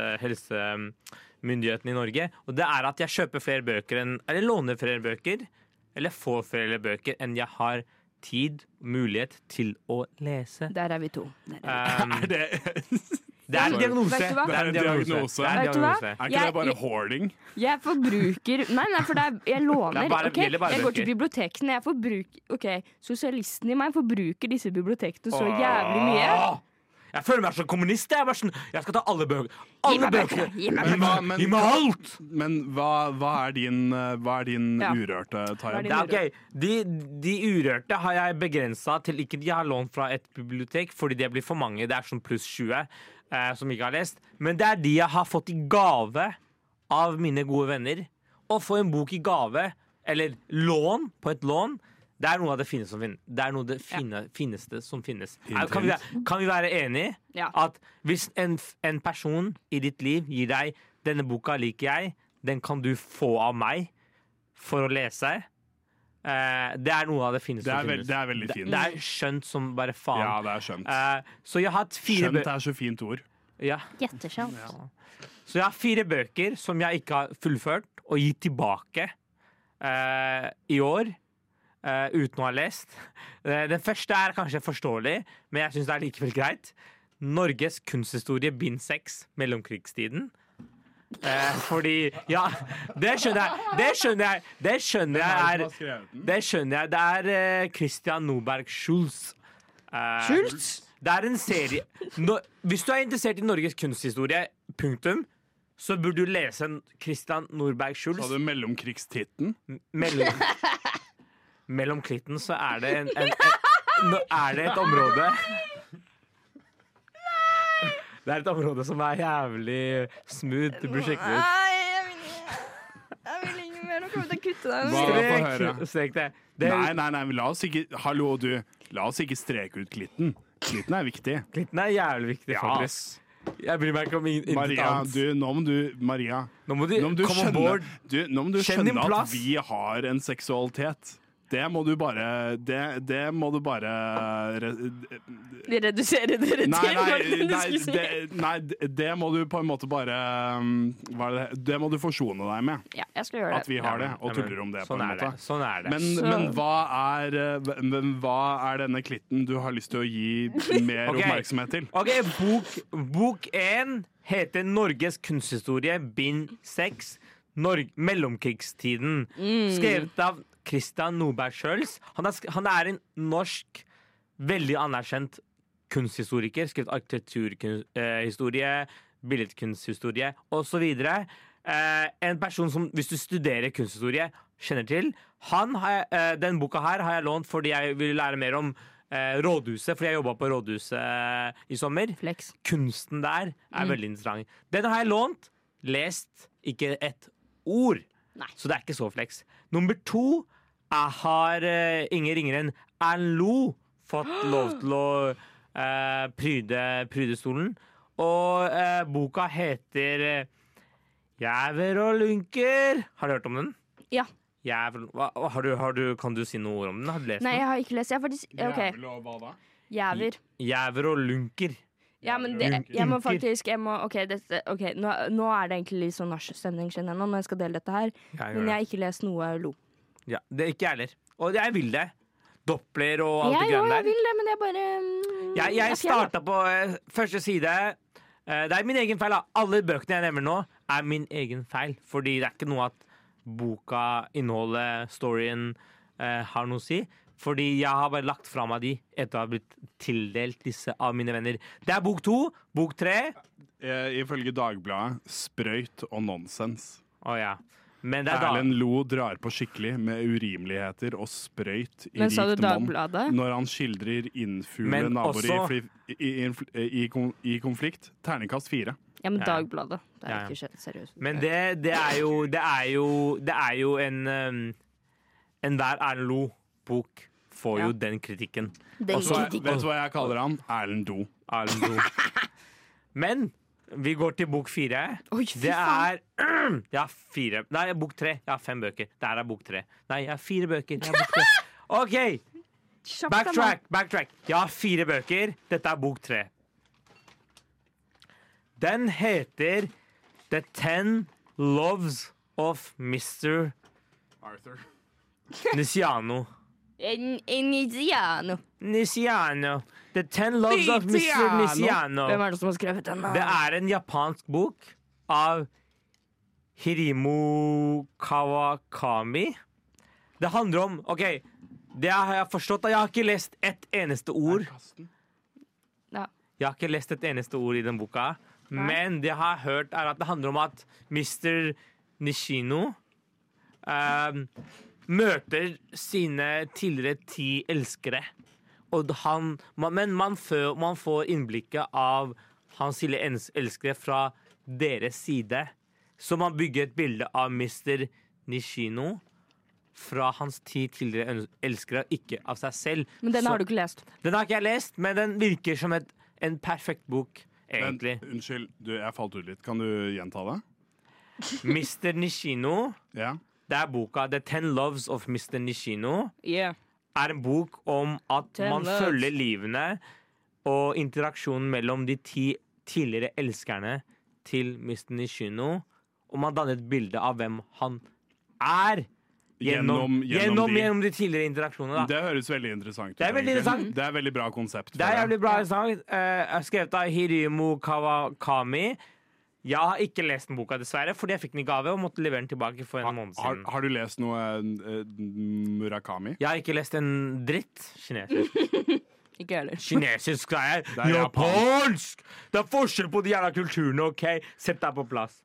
S7: helsemyndighetene i Norge. Og det er at jeg kjøper flere bøker enn Eller låner flere bøker. Eller får flere bøker enn jeg har tid, mulighet, til å
S3: <laughs>
S7: lese.
S3: Der er vi to.
S7: Um,
S6: Er det,
S7: det er en
S6: Sorry.
S7: diagnose.
S3: Vet du hva?
S7: Det er en diagnose. Det er en
S3: Vet du hva?
S7: diagnose.
S6: er ikke
S3: Jeg-
S6: det bare hoarding?
S3: Jeg forbruker Nei, nei, for det er, jeg låner.
S7: Det er bare-
S3: ok?
S7: gjelder bare
S3: Jeg går til
S7: bøker.
S3: bibliotekene. Jeg forbruker OK, sosialisten i meg forbruker disse bibliotekene så jævlig mye.
S7: Åh! Jeg føler meg som kommunist. Jeg, er bare sånn, jeg skal ta alle bøker.
S3: Gi
S7: Alle
S3: meg bøkene!
S7: bøkene!
S3: Gi meg
S6: Men hva, men,
S7: Gi meg alt!
S6: men hva, hva er din, eh, hva er din
S3: Ja.
S6: urørte,
S3: Hva er
S6: Tayeb?
S7: Det er ok. De, de urørte har jeg begrensa til ikke de jeg har lånt fra et bibliotek, fordi det blir for mange. Det er sånn pluss 20 eh, som ikke har lest. Men det er de jeg har fått i gave av mine gode venner. Å få en bok i gave, eller lån, på et lån, det er noe av det fine som finnes. Det er noe av det fine, fineste som finnes. Er- Kan vi, være- kan vi være enige
S3: Ja.
S7: at hvis en, f- en person i ditt liv gir deg 'denne boka liker jeg', den kan du få av meg for å lese eh, Det er noe av det fineste
S6: Det er
S7: som
S6: veld-
S7: finnes.
S6: det er veldig fint.
S7: Det, det er skjønt som bare faen.
S6: Ja, det er skjønt.
S7: Eh, så jeg har hatt fire
S6: Skjønt
S7: bøker
S6: er så fint ord.
S7: ja.
S3: Jetteskjønt.
S7: Så jeg har fire bøker som jeg ikke har fullført og gitt tilbake eh, i år. eh, uten å ha lest. Eh, den første er kanskje forståelig, men jeg syns det er likevel greit. 'Norges kunsthistorie bind 6. Mellomkrigstiden'. Eh, fordi Ja, det skjønner jeg! Det skjønner jeg! Det skjønner jeg er Det skjønner jeg. Det er eh, Christian Noberg Schulz. Eh, Det er en serie Nå- Hvis du er interessert i Norges kunsthistorie, punktum, så burde du lese en Christian Norberg Schulz.
S6: Sa du mellomkrigstitten?
S7: Mellom, mellom klitten så er det en, en, en Nå er det et område Det er et område som er jævlig smooth. Du burde sjekke det ut.
S2: jeg vil ikke, jeg vil ikke mer. Nå kommer jeg til å kutte deg.
S6: Hva da, få høre?
S7: Strek- Strek det. det
S6: Nei, nei, nei, men la oss ikke Hallo, du. La oss ikke streke ut klitten. Klitten er viktig.
S7: Klitten er jævlig viktig, faktisk. Jeg bryr meg ikke om in- intet
S6: Maria,
S7: annet.
S6: du, nå må du Maria,
S7: Nå må du,
S6: nå må du
S7: come on
S6: skjønne,
S7: board.
S6: du, nå må du
S7: Kjenn din
S6: skjønne at
S7: plass.
S6: vi har en seksualitet. Det må du bare Det, det må du bare eh, re-
S3: Vi reduserer <laughs> dere til
S6: Nei, nei,
S3: hvordan
S6: nei,
S3: du skulle
S6: det,
S3: si.
S6: nei, det må du på en måte bare um, Hva er det Det må du forsone deg med.
S3: Ja, jeg skal gjøre
S6: At
S3: det.
S6: vi har det,
S7: Ja, men-
S6: og
S7: ja, men
S6: tuller om det, på en
S7: sånn er
S6: måte.
S7: Det. Sånn er det.
S6: Men,
S3: Så-
S6: men, hva er, eh, men hva er denne klitten du har lyst til å
S3: <laughs>
S6: gi mer
S7: Ok.
S6: oppmerksomhet til?
S7: OK, bok, bok én heter 'Norges kunsthistorie', bind seks. Norg- Mellomkrigstiden. Skrevet av Christian Noberg Schjøls. Han, er sk- han er en norsk, veldig anerkjent kunsthistoriker. Skrevet arkitekturhistorie, billedkunsthistorie osv. Eh, en person som, hvis du studerer kunsthistorie, kjenner til. Han har, jeg- eh, den boka her har jeg lånt fordi jeg vil lære mer om eh, rådhuset, fordi jeg jobba på rådhuset eh, i sommer.
S3: Flex.
S7: Kunsten der er
S3: Mm.
S7: veldig interessant. Den har jeg lånt, lest ikke et ord.
S3: Nei.
S7: Så det er ikke så flex. Nummer to jeg har eh, ingen ringere enn Erlend Lo
S3: <gasps>
S7: fått lov til å eh, pryde, pryde stolen. Og eh, boka heter eh, 'Jæver og lunker'. Har du hørt om den?
S3: Ja.
S7: Jæver, hva, har du, har du, kan du si noe ord om den? Har du lest
S3: Nei, jeg har ikke lest. Jeg har faktisk OK.
S6: og hva da?
S3: Jæver.
S7: den? Jæver og lunker.
S3: Ja, men det,
S7: Jævlig.
S3: jeg må faktisk jeg må, OK, dette, ok, nå, nå er det egentlig litt sånn nachstemning kjenner jeg nå når jeg skal dele dette her.
S7: Jeg gjør
S3: Men jeg
S7: det.
S3: har ikke lest noe lo.
S7: Ja, det er ikke jeg heller. Og jeg vil det. Doppler og alt
S3: Jeg
S7: det
S3: jo, jeg
S7: greiene der.
S3: vil det, men jeg bare mm,
S7: Jeg, jeg
S3: er fjell, da.
S7: starta på eh, første side. Eh, det er min egen feil. da. Alle bøkene jeg nevner nå, er min egen feil. Fordi det er ikke noe at boka, innholdet, storyen eh, har noe å si. Fordi jeg har bare lagt fra meg de etter å ha blitt tildelt disse av mine venner. Det er bok to, bok tre,
S6: eh, ifølge Dagbladet, sprøyt og nonsens.
S7: Å ja. Men det er da
S6: Erlend Lo drar på skikkelig med urimeligheter og sprøyt i
S3: Men sa du
S6: rikt monn
S3: Dagbladet?
S6: når han skildrer innfugle
S7: Men
S6: naboer i,
S7: også-
S6: fli- i, i, infl- i, kon- i konflikt. Terningkast fire.
S3: Ja, men
S7: Ja, ja.
S3: Dagbladet. Det
S7: Ja,
S3: er
S7: ja.
S3: ikke skjedd, seriøst.
S7: Men det, det er jo Det er jo, det er jo en um, Enhver Erlend Lo-bok får jo
S3: Ja.
S7: den kritikken.
S2: Den
S6: Så jeg,
S7: Kritikk.
S6: vet du hva jeg kaller han? Erlend Do. <laughs>
S7: Erlend Lo. Men vi går til bok fire.
S3: Oi, fy
S7: Det
S3: faen.
S7: er <clears throat> Jeg har fire Nei, jeg har bok tre. Jeg har fem bøker. Det her er bok tre. Nei, jeg har fire bøker. Jeg har
S3: <laughs>
S7: bok tre.
S3: Kjapt,
S7: OK!
S3: da, mann.
S7: Backtrack, backtrack. Jeg har fire bøker. Dette er bok tre. Den heter The Ten Loves of Mr.
S6: Arthur.
S3: <laughs>
S7: Nisiano.
S2: En Iniziano.
S7: Nisiano. The Ten Loves of Mr.
S6: Nisiano.
S7: Nisiano.
S3: Hvem er det som har skrevet den? da?
S7: Det er en japansk bok av Hirimo Kawakami. Det handler om OK, det har jeg forstått. Jeg har ikke lest ett eneste ord.
S3: Ja.
S7: Jeg har ikke lest et eneste ord i den boka, men det jeg har hørt, er at det handler om at Mr. Nishino ehm, møter sine tidligere ti elskere. Og han, man, men man, fø- man får innblikket av hans tidligere ens- elskere fra deres side. Så man bygger et bilde av Mr. Nishino fra hans ti tidligere ens- elskere, ikke av seg selv.
S3: Men den
S7: Så-
S3: har du ikke lest.
S7: den har ikke jeg lest, men den virker som et, en perfekt bok, egentlig.
S6: Unnskyld, du, jeg falt ut litt. Kan du gjenta det?
S7: Mr. Nishino,
S6: Ja.
S7: det er boka The Ten Loves of Mr. Nishino,
S3: Yeah.
S7: er en bok om at
S3: Ten
S7: man
S3: loves.
S7: følger livene og interaksjonen mellom de ti tidligere elskerne til Mr. Nishino, og man danner et bilde av hvem han er
S6: Gjennom-
S7: gjennom,
S6: gjennom
S7: gjennom,
S6: de-
S7: gjennom de tidligere interaksjonene. da.
S6: Det høres veldig interessant ut.
S7: Det er veldig
S6: egentlig.
S7: interessant.
S6: Det er veldig bra konsept.
S7: Det er
S6: føler jeg.
S7: jævlig bra sang. eh, skrevet av Hirimo Kawakami. Jeg har ikke lest den boka, dessverre, fordi jeg fikk den i gave og måtte levere den tilbake for en måned
S6: har,
S7: siden.
S6: har du lest noe eh, Murakami?
S7: Jeg har ikke lest en dritt kinesisk.
S3: Ikke jeg heller.
S7: Kinesisk er
S6: er
S7: japansk! Det er forskjell på de jævla kulturene, OK? Sett deg på plass.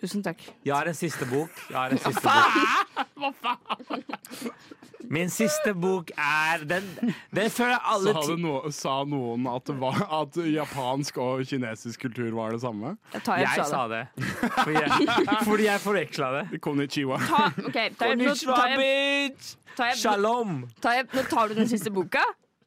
S3: Tusen takk.
S7: Jeg har en siste bok. Jeg har en siste bok. Min siste bok er Den, den føler jeg alle
S6: Sa, det no, sa noen at, det var, at japansk og kinesisk kultur var det samme?
S3: Jeg tar
S7: Jeg sa det. Fordi jeg, <laughs> fordi jeg forveksla det.
S6: Konnichiwa.
S3: Ta, ok, ta, nå,
S7: Konnichiwa,
S3: tar jeg,
S7: bitch!
S3: tar jeg,
S7: Shalom!
S3: tar jeg, nå tar du den siste boka,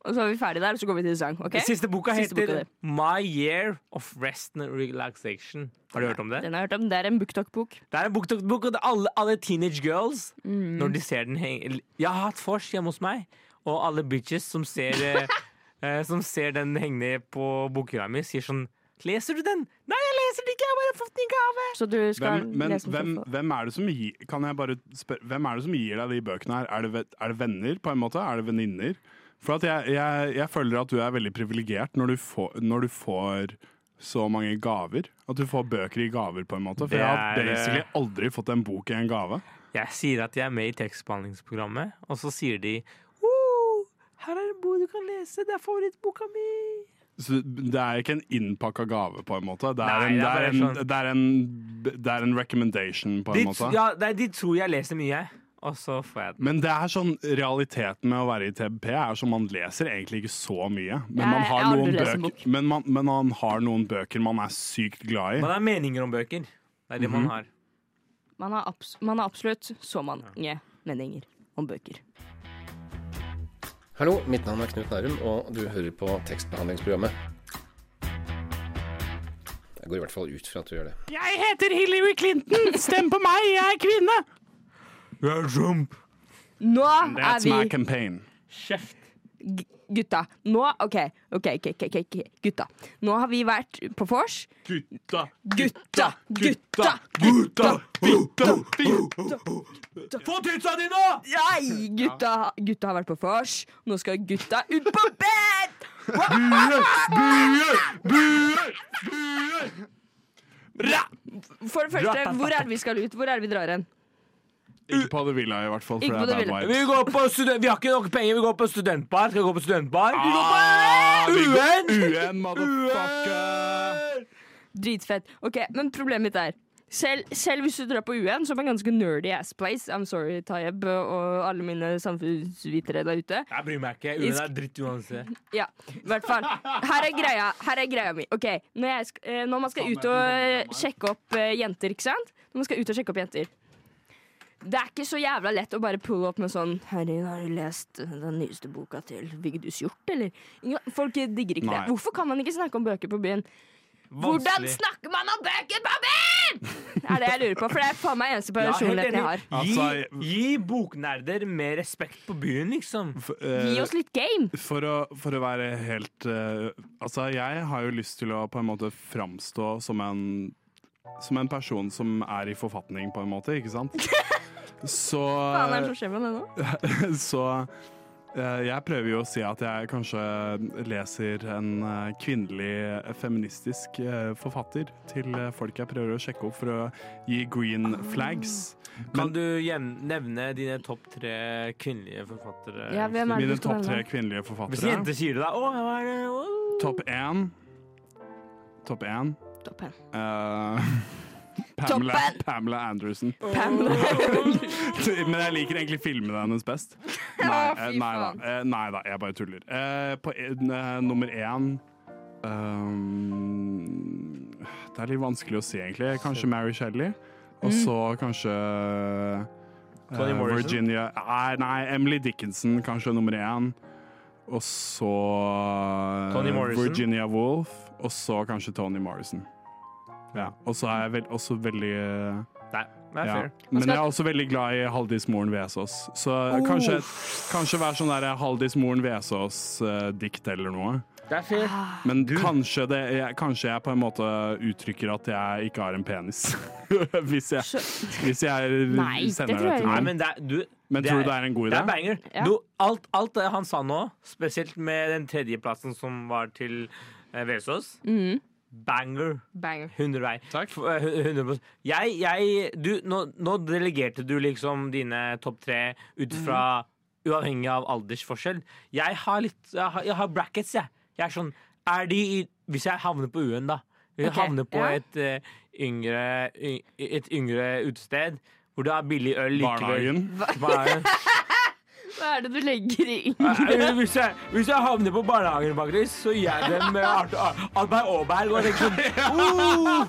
S3: og så er vi ferdig der, og så går vi til sang. ok?
S7: Den siste boka
S3: Eh? Siste
S7: heter
S3: boka di.
S7: My Year of Rest and Relaxation. Har du hørt om det?
S3: Den har jeg hørt om. Det er en BookTok-bok.
S7: Det er en bok, og det er alle, alle teenage girls Når de ser den heng- eller- Jeg har hatt vors hjemme hos meg, og alle bitches som ser, eh, eh, som ser den henge på bokhylla mi, sier sånn Leser du den? Nei, jeg leser den ikke! Jeg har bare fått den i gave!
S3: Så du skal
S6: Hvem, men
S3: lese den
S6: hvem,
S3: først.
S6: hvem er det som gir Kan jeg bare spørre, hvem er det som gir deg de bøkene her? Er det, ve- er det venner, på en måte? Er det venninner? For at jeg, jeg, jeg føler at du er veldig privilegert når, du får- når du får så mange gaver. At du får bøker i gaver, på en måte. For
S7: Det
S6: jeg har
S7: er, eh,
S6: basically aldri fått en bok i en gave.
S7: Jeg sier at jeg er med i tekstbehandlingsprogrammet, og så sier de «Woo, Her er en bok du kan lese! Det er favorittboka mi!
S6: Så det er ikke en innpakka gave, på en måte. Det
S7: Nei,
S6: er en,
S7: det
S6: det
S7: er
S6: er
S7: bare
S6: en,
S7: sånn-
S6: det er en, det er en recommendation, på en
S7: De,
S6: måte.
S7: ja, nei, de tror jeg leser mye, og så får jeg den.
S6: Men det er sånn, realiteten med å være i TBP er sånn man leser egentlig ikke så mye. Men
S3: Jeg-
S6: man har,
S3: jeg har aldri
S6: noen,
S3: lest en
S6: bøker, men man, men man har noen bøker man er sykt glad i.
S7: Man har meninger om bøker. Det er det
S6: Mhm.
S7: man har.
S3: Man har, abs man har absolutt så mange meninger om bøker.
S10: Hallo, mitt navn er Knut Nærum, og du hører på tekstbehandlingsprogrammet. Jeg går i hvert fall ut fra at du gjør det.
S6: Jeg heter Hillary Clinton! Stem på meg, jeg er kvinne!
S3: Nå er
S6: That's
S3: vi
S6: my campaign.
S7: Kjeft.
S3: g- Gutta, nå OK, OK, ok, ok, ok, ok, gutta. Nå har vi vært på vors.
S6: Gutta,
S3: Gutta, gutta!
S6: gutta, gutta,
S7: Få tutsa di nå!
S3: Nei, gutta, gutta har vært på vors. Nå skal gutta ut på bed! For det første, hvor er det vi skal ut? Hvor er det vi drar hen?
S6: Ikke på The Villa i hvert fall, for
S3: Ikke på
S6: det
S3: The
S6: er
S3: Villa.
S6: bad
S7: Vi,
S6: vibes.
S7: går på student vi har ikke nok penger, vi går på studentbar. Skal vi gå på studentbar?
S6: Ah, vi går-
S7: UN!
S6: UN, motherfucker!
S3: Dritfett. Ok, Men problemet mitt er selv, selv hvis du drar på UN, som er en ganske nerdy ass place I'm sorry, Tayeb og alle mine samfunnsvitere der ute.
S7: Jeg bryr meg ikke. Uen er dritt uansett.
S3: Ja, i hvert fall. Her er greia, her er greia mi. Ok, når, jeg, sk- eh, når man skal ut og eh, sjekke opp eh, jenter, ikke sant? Når man skal ut og sjekke opp jenter. Det er ikke så jævla lett å bare pulle opp med sånn Herregud, har du lest den nyeste boka til Vigdus Hjort, eller? Ingen- Folk digger ikke
S6: Nei.
S3: det. Hvorfor kan man ikke snakke om bøker på byen? Hvordan
S7: Vanskelig.
S3: snakker man om bøker på byen?! er det jeg lurer på, for det er faen meg eneste
S7: Ja, helt
S3: personligheten jeg
S7: enig.
S3: har.
S6: Altså,
S7: Gi, gi boknerder mer respekt på byen, liksom.
S6: F-
S3: Gi
S6: eh,
S3: oss litt game!
S6: For å, for å være helt eh, Altså, jeg har jo lyst til å på en måte framstå som en Som en person som er i forfatning, på en måte, ikke
S3: <laughs>
S6: sant? Så
S3: Faen, er det som skjer med det nå?
S6: Så eh, jeg prøver jo å si at jeg kanskje leser en eh, kvinnelig feministisk eh, forfatter til eh, folk jeg prøver å sjekke opp for å gi
S3: Ah,
S6: green flags.
S7: Kan du gjem- nevne dine topp tre kvinnelige forfattere?
S3: Ja, hvem er det
S6: Mine
S3: du skal
S6: topp tre
S3: nevne?
S6: kvinnelige
S7: Hvis
S6: forfattere.
S7: jenter sier det, da Å, hva er det? Å.
S6: Topp én Topp én
S3: Toppen.
S6: eh, <laughs> Pamela,
S3: Toppen!
S6: Pamela Anderson.
S7: <laughs>
S3: Pam.
S6: <laughs> Men jeg liker egentlig filmene
S3: <laughs>
S6: hennes best. Nei, eh,
S3: fy
S6: nei, da.
S3: faen.
S6: Eh, nei da, jeg bare tuller. Eh, på en- eh, nummer én ehm, Det er litt vanskelig å si, egentlig. Kanskje Mary Shelley. Og
S3: Mm.
S6: så kanskje eh,
S7: Toni Morrison?
S6: Virginia Nei, nei, Emily Dickinson kanskje nummer én. Og så eh,
S7: Toni Morrison?
S6: Virginia Woolf. Og så kanskje Tony Morrison. Ja. Og så er jeg vel, også veldig eh,
S7: Nei, det er
S6: ja.
S7: fair.
S3: Altså-
S6: Men jeg er også veldig glad i Haldis Moren Vesaas. Så
S3: Oh.
S6: kanskje, kanskje være sånn der Haldis Moren Vesaas-dikt eh, eller noe.
S7: Det er fair.
S3: Ah.
S6: Men kanskje, det, jeg, kanskje jeg på en måte uttrykker at jeg ikke har en penis. <laughs> hvis, jeg, hvis jeg
S3: Nei, det
S6: sender
S3: tror
S6: det
S3: jeg
S6: til
S3: ikke.
S7: Nei,
S6: noen.
S7: men det er, du,
S6: Men tror du det er en god
S7: det er
S6: idé?
S7: banger.
S3: Ja.
S7: Du, alt, alt det han sa nå, spesielt med den tredjeplassen som var til eh, Vesaas
S3: Mhm.
S7: Banger.
S3: Banger.
S7: 100 vei. F- eh, hu- 100%. Jeg, jeg, du, nå, nå delegerte du liksom dine topp tre ut
S3: Mhm.
S7: fra Uavhengig av aldersforskjell. Jeg har litt Jeg har, jeg har brackets, jeg. Jeg er sånn Er de i Hvis jeg havner på UN, da. Hvis jeg
S3: Ok,
S7: havner på
S3: ja.
S7: et, eh, yngre, y, et yngre utested hvor det er billig øl likevel.
S6: Barnehagen?
S7: Barnehagen.
S3: Hva er det du legger i?
S7: <laughs> Eh, Hvis jeg, hvis jeg havner på barnehagen, faktisk, så gir jeg dem eh, Art- Ar- Arnberg Aaberg og
S6: <laughs>
S7: liksom
S6: Oh!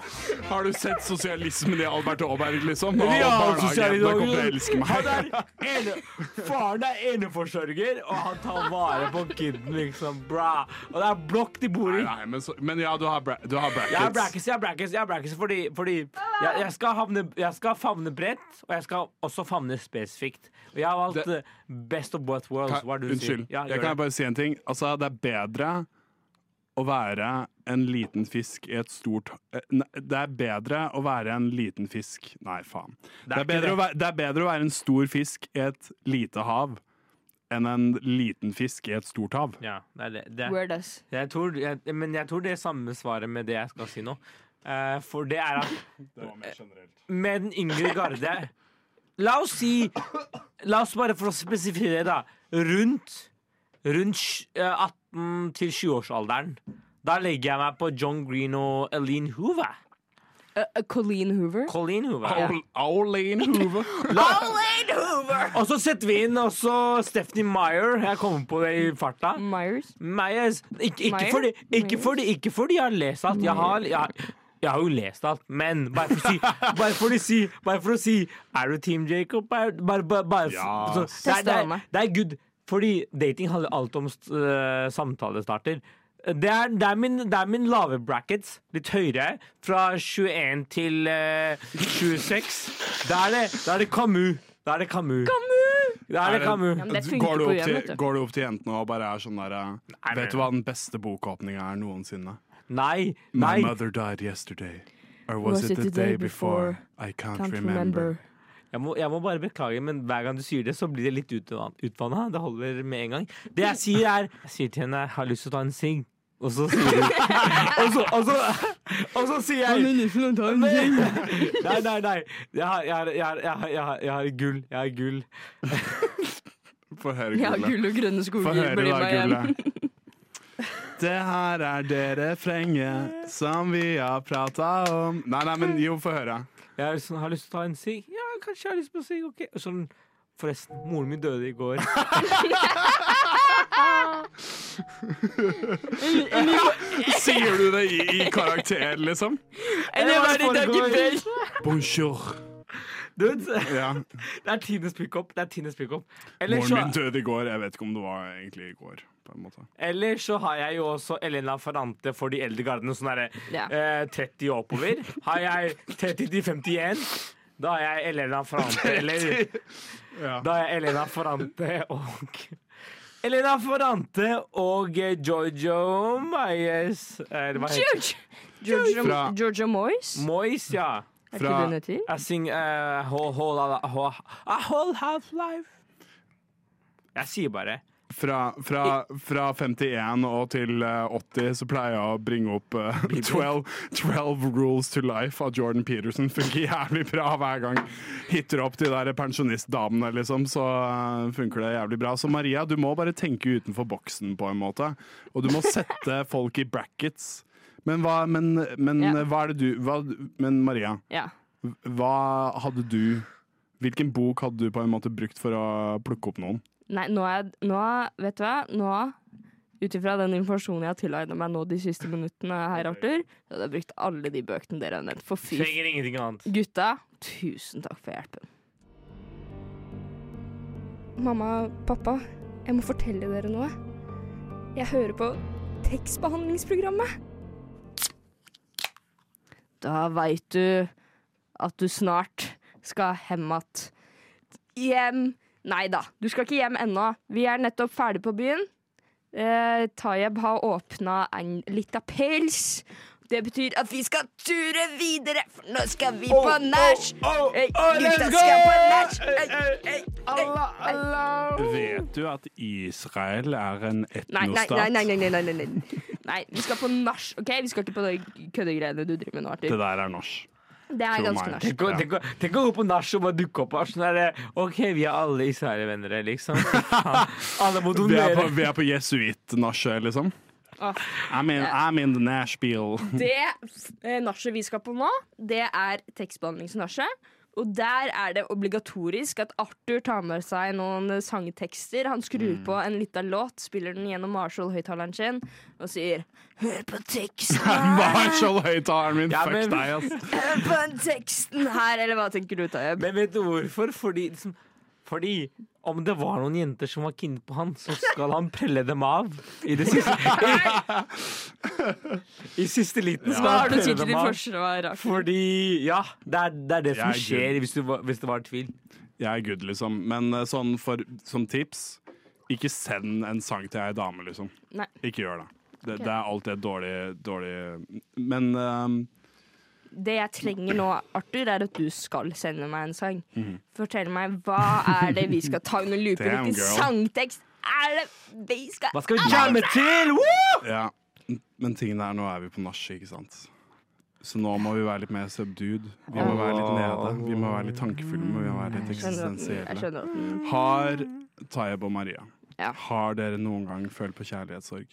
S6: Har du sett sosialismen i Albert Aaberg, liksom? Og barnehagejentene kommer til å elske meg.
S7: Han er ene, faren er eneforsørger, og han tar vare på kiden, liksom. Bra. Og det er blokk de bor i.
S6: Nei, nei, men, så, men ja, du har, bra, du har brackets.
S7: Jeg har brackets, jeg har brackets, jeg har brackets fordi, fordi jeg, jeg, skal havne, jeg skal favne bredt, og jeg skal også favne spesifikt. Og jeg har valgt
S6: Det-
S7: eh, best of both worlds. Hva er det du sier?
S6: Unnskyld.
S7: Ja,
S6: jeg
S7: gjør
S6: kan
S7: det.
S6: bare si en ting. Altså, det er bedre å være en liten fisk i et stort eh, nei, Det er bedre å være en liten fisk Nei, faen. Det
S7: er
S6: er,
S7: ikke
S6: bedre
S7: det.
S6: Å være, det er bedre å være en stor fisk i et lite hav enn en liten fisk i et stort hav.
S7: Ja, det er det. det.
S3: Word us.
S7: Jeg tror, jeg, men jeg tror det er samme svaret med det jeg skal si nå. Eh, for <laughs> det er at med den yngre garde La oss si La oss bare for å spesifisere, da. Rundt, rundt sj- eh, 18 til 20-årsalderen. Da legger jeg meg på John Green og Eileen Hoover.
S3: Uh, uh, Colleen Hoover?
S7: Colleen Hoover.
S6: Aul- Aulane Hoover.
S3: Colleen Hoover!
S7: Og så setter vi inn også Stephanie Meyer. Jeg kommer på det i farta.
S3: Myers?
S7: Meyers. Ikke, ikke,
S3: Meyer?
S7: fordi, ikke,
S3: Meyers?
S7: fordi, ikke fordi jeg har lest alt. Jeg har, jeg, jeg har jo lest alt, men bare for å si Bare for å si, bare for å si Er du Team Jacob? Er, bare, bare, bare,
S6: Ja.
S7: så- det, er, det,
S3: Testa
S7: er,
S3: meg.
S7: det er good. Fordi dating handler alt om øh, samtalestarter. Det er, det, er min, det er min lave brackets, litt høyere, fra 21 til øh, 26. Da er det, da er det Camus. Da er det Camus. Da er det Camus.
S3: men det funker
S6: går, du
S3: på
S6: opp
S3: hjem,
S6: til,
S3: vet du.
S6: går du opp til jentene og bare er sånn derre Vet du hva den beste bokåpninga er noensinne?
S7: Nei,
S6: My
S7: nei.
S6: mother died yesterday. Or was, it, the day before? I can't, remember.
S7: Jeg må, jeg må bare beklage, men hver gang du sier det, så blir det litt utvanna. Det holder med en gang. Det jeg sier, er Jeg sier til henne jeg har lyst til å ta en sigg. Og så sier hun <laughs> og, så, og, så, og så sier jeg
S3: sånn <laughs>
S7: Nei, nei, nei. Jeg har, jeg har, jeg har, jeg har, jeg har, jeg har gull. Jeg har gull.
S6: Få høre
S3: Ja,
S6: gullet.
S3: gull og grønne skoger
S6: Få høre
S3: blir
S6: da,
S3: <laughs> meg igjen.
S6: gullet. Det her er det refrenget som vi har prata om Nei, nei, men jo, få høre.
S7: Jeg er sånn, har lyst til å ta en sigg. Ja, kanskje jeg har lyst på sigg. Ok. Og Sånn, forresten, moren min døde i går.
S6: Sier du det i, i karakter, liksom?
S7: Eller var det i dag i kveld?
S6: Bonjour.
S7: Dude,
S6: Ja.
S7: det er tidenes pickup. Det er tidenes pickup. Eller,
S6: Moren min
S7: så-
S6: døde i går. Jeg vet ikke om det var egentlig i går. på en måte.
S7: eller så har jeg jo også Elena Ferrante for de eldre gardene, sånn derre
S3: Ja.
S7: eh, 30 og oppover. Har jeg 30 til 51, da har jeg Elena
S3: <laughs>
S7: Ferrante eller
S6: Ja.
S7: Da er Elena Ferrante og Elena Ferrante og eh, Giorgio Moyes Eller hva heter det?
S3: George! Georgia,
S6: Fra-
S3: Georgia Moyes?
S7: Moyes, ja.
S3: Er
S6: fra-
S3: ikke det nødt til?
S7: Jeg synger eh, whole, whole, whole, A whole half life. Jeg sier bare
S6: Fra, fra, fra 51 og til eh, 80 så pleier jeg å bringe opp eh, 12, 12 Rules to Life av Jordan Peterson. Funker jævlig bra hver gang. Hitter opp de der pensjonistdamene, liksom, så eh, funker det jævlig bra. Så Maria, du må bare tenke utenfor boksen på en måte. Og du må sette folk i brackets. Men hva, men, men,
S3: Ja.
S6: eh, hva er det du hva, Men Maria,
S3: Ja.
S6: hva hadde du Hvilken bok hadde du på en måte brukt for å plukke opp noen?
S3: Nei, nå er nå, Vet du hva? Nå, ut ifra den informasjonen jeg har tilegnet meg nå de siste minuttene her, Arthur, så hadde jeg brukt alle de bøkene dere har nevnt. For fy f-
S7: Trenger ingenting annet.
S3: Gutta, tusen takk for hjelpen.
S11: Mamma, pappa, jeg må fortelle dere noe. Jeg hører på tekstbehandlingsprogrammet.
S3: Da veit du at du snart skal hjem att. Hjem Nei da, du skal ikke hjem ennå. Vi er nettopp ferdig på byen. Eh, Tayeb har åpna en lita pels. Det betyr at vi skal ture videre, for nå skal vi på
S6: Oh,
S3: nach. Hey, gutta skal på nach. Hey, hey, hey.
S6: Vet du at Israel er en
S3: Nei, nei,
S6: etnostat?
S3: nei, nei, nei, nei, nei, nei, nei. nei. Vi skal på nach, OK? Vi skal ikke på de køddegreiene du driver med nå,
S6: Det
S3: Arthur.
S6: der er norsk.
S3: Det er
S6: tror
S3: ganske
S6: meg.
S3: nach.
S7: Tenk å,
S6: Ja.
S7: tenk, å, tenk å gå på nach og bare dukke opp her. Sånn der, eh, OK, vi er alle israelere, liksom. alle må
S6: Vi er på,
S7: donere.
S6: vi er på jesuittnasje, liksom.
S3: Ah.
S6: I'm in, I'm in the Nashville. <laughs>
S3: Det eh, nachet vi skal på nå, det er tekstbehandlingsnachet. Og der er det obligatorisk at Arthur tar med seg noen eh, sangtekster. Han
S6: Mm.
S3: skrur på en liten låt, spiller den gjennom Marshall-høyttaleren sin og sier Hør på
S6: <laughs>
S3: teksten,
S6: Marshall-høyttaleren min,
S7: Ja,
S6: fuck
S7: men-
S6: deg, ass.
S3: hør på den teksten her, eller hva tenker du, Tayeb?
S7: Men vet du hvorfor? Fordi, liksom, fordi om det var noen jenter som var kinnet på han, så skal han prelle dem av. I det siste I, i siste liten skal
S3: Hva
S7: han
S3: har du å si
S7: prelle
S3: til
S7: dem
S3: ditt
S7: av.
S3: forsvar, Arthur?
S7: Fordi Ja, det er det, er det som
S6: Jeg er
S7: skjer hvis, du, var- hvis det var tvil.
S6: Jeg er good, liksom. Men eh, sånn for, som tips, ikke send en sang til ei dame, liksom.
S3: Nei.
S6: Ikke gjør det. Det, det er alltid et dårlig, dårlig Men ehm,
S3: Det jeg trenger nå, Arthur, er at du skal sende meg en sang.
S7: Mhm.
S3: Fortell meg, hva er det vi skal ta under lupen?
S6: Damn,
S3: Hvilken
S6: girl.
S3: sangtekst er det vi skal
S7: Hva skal vi jamme til? Woo!
S6: ja. Men tingen er, nå er vi på nach, ikke sant? Så nå må vi være litt mer subdued. Vi må være litt nede. Vi må være litt tankefulle, men vi må være litt
S3: Mm, Jeg skjønner at den- jeg
S6: eksistensielle.
S3: skjønner at den
S6: Har Tayeb og Maria
S3: Ja.
S6: Har dere noen gang følt på kjærlighetssorg?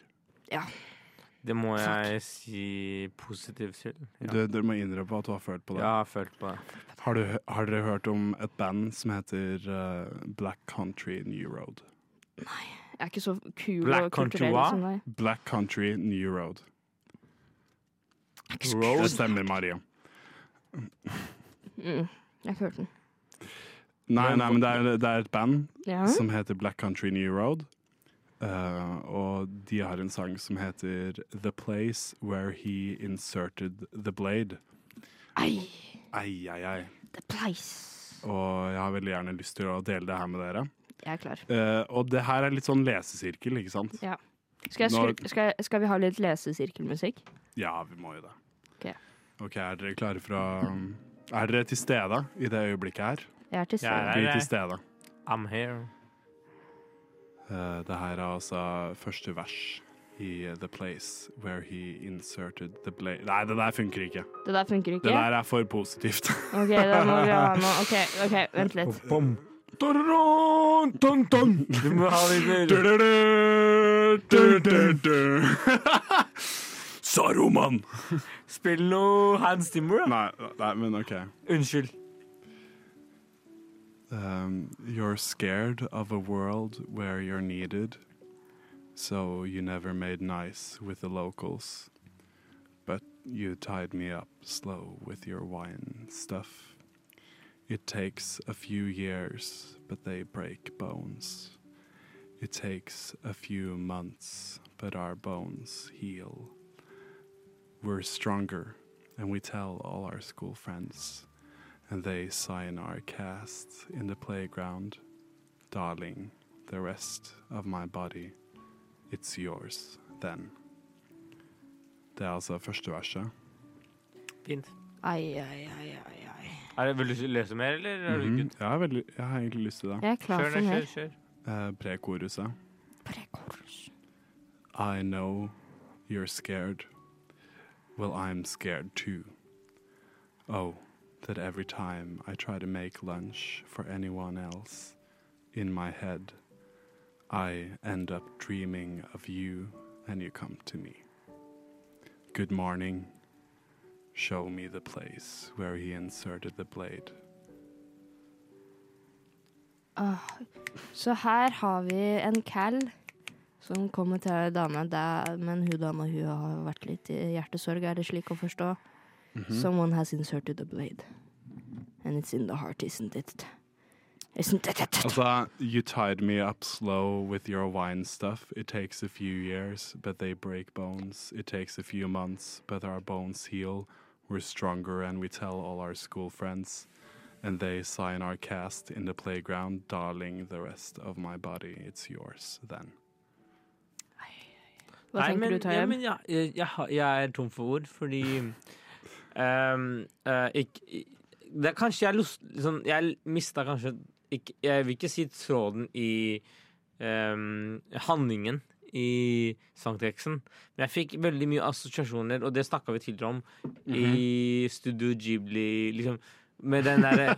S7: Det må jeg si positivt til.
S6: Du, dere må innrømme at du har følt på det.
S7: Jeg har følt på det.
S6: Har, du, har dere hørt om et band som heter eh, Black Country New Road?
S3: Jeg er ikke så kul
S7: Black
S3: og
S7: Country
S3: kulturell
S7: Wa?
S3: som deg.
S6: Black Country New Road. Det
S7: Road.
S6: stemmer, Maria.
S3: Mm. Jeg følte den.
S6: Nei, nei, men det er, det er et band
S3: Ja.
S6: som heter Black Country New Road. Eh, og de har en sang som heter The Place Where He Inserted The Blade.
S3: Ei,
S6: Ei, ei, ei.
S3: the place.
S6: Og jeg har veldig gjerne lyst til å dele det her med dere.
S3: Jeg er klar.
S6: Eh, og det her er litt sånn lesesirkel, ikke sant?
S3: Ja. Skal, jeg
S6: Nå-
S3: skru, skal, jeg- skal vi ha litt lesesirkelmusikk?
S6: Ja, vi må jo det.
S3: Ok.
S6: Ok, er dere klare for å um, Er dere til stede i det øyeblikket her?
S3: Jeg er til stede.
S7: Jeg er her.
S6: Bli
S7: nei.
S6: til stede.
S7: I'm here.
S6: Eh, det her er altså første vers i The Place Where He Inserted The Blade Nei, det der funker ikke.
S3: Det der funker ikke?
S6: Det <laughs> der er for positivt.
S3: OK, da må vi ha noe OK, ok, vent litt.
S7: Du må ha litt
S6: Saruman!
S7: Spill noe Hans Zimmer, da.
S6: Nei, nei, men OK.
S7: Unnskyld.
S6: Um, you're scared of a world where you're needed, so you never made nice with the locals. But you tied me up slow with your wine stuff. It takes a few years, but they break bones. It takes a few months, but our bones heal. We're stronger, and we tell all our school friends and they sign our cast in the playground. Darling, the rest of my body, it's yours then. Det er altså første verset.
S7: Fint.
S12: Ai, ai, ai, ai, ai.
S7: Er det, vil du lese mer, eller er du
S6: Mhm.
S7: good?
S6: jeg, har veldig, jeg har egentlig lyst til det.
S12: Jeg er klar
S7: Kjør
S12: for
S7: det,
S12: mer.
S7: kjør, kjør.
S6: Eh, Prekoruset. I know you're scared. Well, I'm scared too. Oh, that every time I try to make lunch for anyone else, in my head, I end up dreaming of you and you come to me. Good morning. Show me the place where he inserted the blade.
S12: Ah, Så her har vi en cal som kommer til ei dame. Det er, men hun dama hun har vært litt i hjertesorg, er det slik å forstå?
S3: Mm-hmm.
S13: Mhm.
S12: Someone has inserted a blade. And it's in the heart, isn't it? Isn't it?
S6: Altså, you tied me up slow with your wine stuff. It takes a few years, but they break bones. It takes a few months, but our bones heal. We're stronger, and we tell all our school friends. And they sign our cast in the playground, darling. The rest of my body, it's yours then.
S12: Hva
S7: Nei,
S12: tenker
S7: men,
S12: du, Tayeb?
S7: Ja, men, ja, jeg, jeg, har- jeg er tom for ord, fordi ehm, eh, ikk- i- det er kanskje jeg lust, liksom, Jeg mista kanskje ikk- Jeg vil ikke si tråden i ehm, handlingen i sangteksten, men jeg fikk veldig mye assosiasjoner, og det snakka vi tidligere om i Studio Ghibli, liksom, med den derre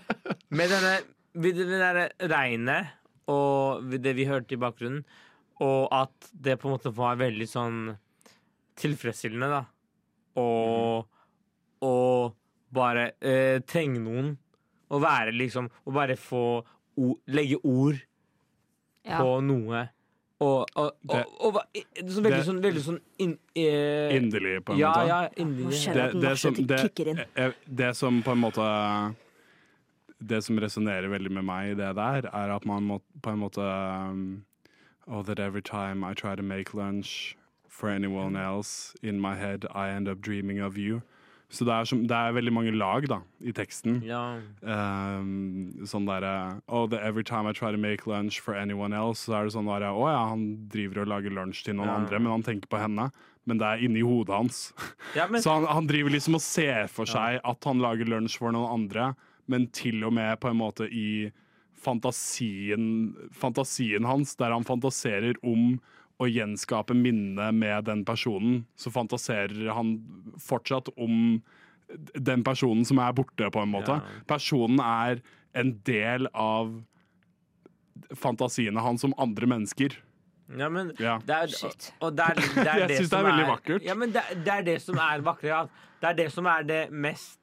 S7: Med denne, med det derre regnet og det vi hørte i bakgrunnen, og at det på en måte var veldig sånn tilfredsstillende, da. Og, og bare eh, trenge noen. Og være liksom Og bare få o- legge ord
S12: Ja.
S7: på noe. Og, og, og,
S6: Det-
S7: og, hva- i- så veldig
S6: det-
S7: sånn, veldig sånn in, eh,
S6: Inderlig, på en
S7: ja,
S6: måte.
S7: Ja, inderlig.
S6: det, eh, det som på en måte Det som resonnerer veldig med meg i det der, er at man må på en måte um, Oh, that every time I try to make lunch for anyone else in my head, I end up dreaming of you. Så det er, som, det er veldig mange lag da, i teksten. Um, sånn derre Oh, that every time I try to make lunch for anyone else, så er det sånn derre Å ja, han driver og lager lunsj til noen
S7: Ja.
S6: andre, men han tenker på henne. Men det er inni hodet hans.
S7: Ja, men-
S6: så han, han driver liksom og ser for seg at han lager lunsj for noen andre, men til og med på en måte i fantasien, fantasien hans, der han fantaserer om å gjenskape minnet med den personen, så fantaserer han fortsatt om den personen som er borte, på en måte. Personen er en del av fantasiene hans om andre mennesker.
S7: Ja, men
S6: Ja.
S7: det er, og, og det er, det er
S6: <laughs> Jeg synes det er
S7: som
S6: veldig vakkert.
S7: Ja, men det, det er det som er vakkert. Ja. Det er det som er det mest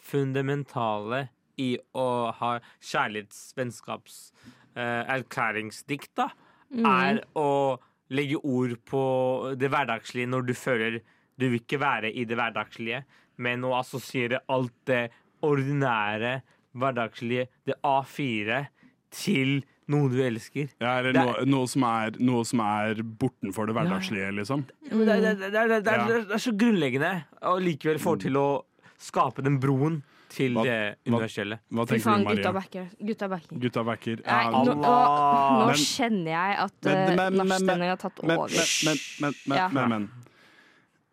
S7: fundamentale i å ha kjærlighetsvennskapserklæringsdikt, da.
S12: Mm.
S7: Er å legge ord på det hverdagslige når du føler du vil ikke være i det hverdagslige, men å assosiere alt det ordinære, hverdagslige, det A4, til noe du elsker.
S6: Ja, eller
S7: Det er-
S6: noe, noe, som er, noe som er bortenfor det hverdagslige, liksom.
S7: Ja, men Det, det, det, det, det, det,
S6: Ja.
S7: det, det er så grunnleggende, og likevel får til å skape den broen til det universelle.
S6: Hva
S12: Fy
S6: tenker
S12: faen,
S6: du, Maria?
S12: gutta backer. Gutta backer.
S6: Gutta backer.
S12: Nei,
S6: Ja,
S12: nå, nå, nå
S6: Men-
S12: kjenner jeg at
S6: Men-
S12: eh,
S6: men- men-
S12: nachstemningen har tatt
S6: Men,
S12: over.
S6: men, men, men, men,
S12: Ja.
S6: men, men.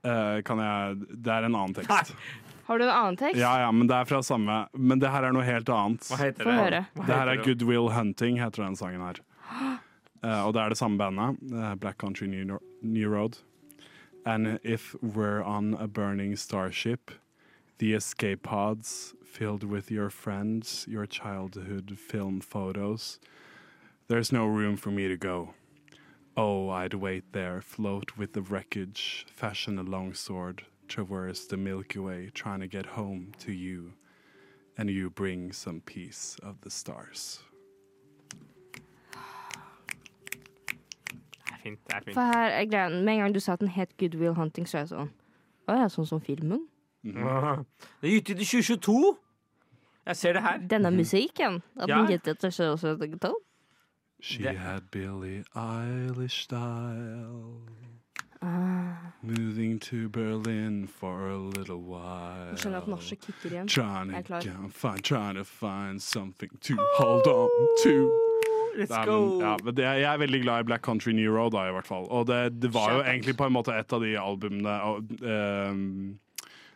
S6: Eh, Kan jeg Det er en annen tekst.
S12: Har du en annen tekst?
S6: Ja, ja, men det er fra samme Men det her er noe helt annet.
S12: Hva heter Få det? høre. Hva
S6: Det her
S12: heter
S6: er
S12: det?
S6: Goodwill Hunting, heter den sangen her. Eh, og det er det samme bandet. eh, Black Country New, New Road. And if we're on a burning starship, The escape pods filled with your friends, your childhood film photos. There's no room for me to go. Oh, I'd wait there, float with the wreckage, fashion a longsword, traverse the Milky Way, trying to get home to you. And you bring some piece of the stars.
S7: Det er fint. det er fint.
S12: For her er greia, Med en gang du sa at den het Good Will Hunting, så er jeg sånn Å ja, sånn som filmen?
S7: Mhm. Det er utgitt i 2022! Jeg ser det her.
S12: Denne
S6: Mhm.
S12: musikken? At
S7: Ja.
S12: den gitt etter seg også et tall?
S6: She had Billie Eilish style.
S12: Ah.
S6: Moving to Berlin for a little while.
S12: Jeg skjønner at er norsk kicker igjen.
S6: Trying
S12: Jeg er
S6: to,
S12: klar.
S6: go- find, trying to find something to hold on to.
S7: Let's
S6: Nei, men,
S7: go.
S6: ja, men det, jeg er veldig glad i Black Country New Road, da, i hvert fall. Og det, det var jo
S7: Shout out.
S6: egentlig på en måte et av de albumene og, ehm,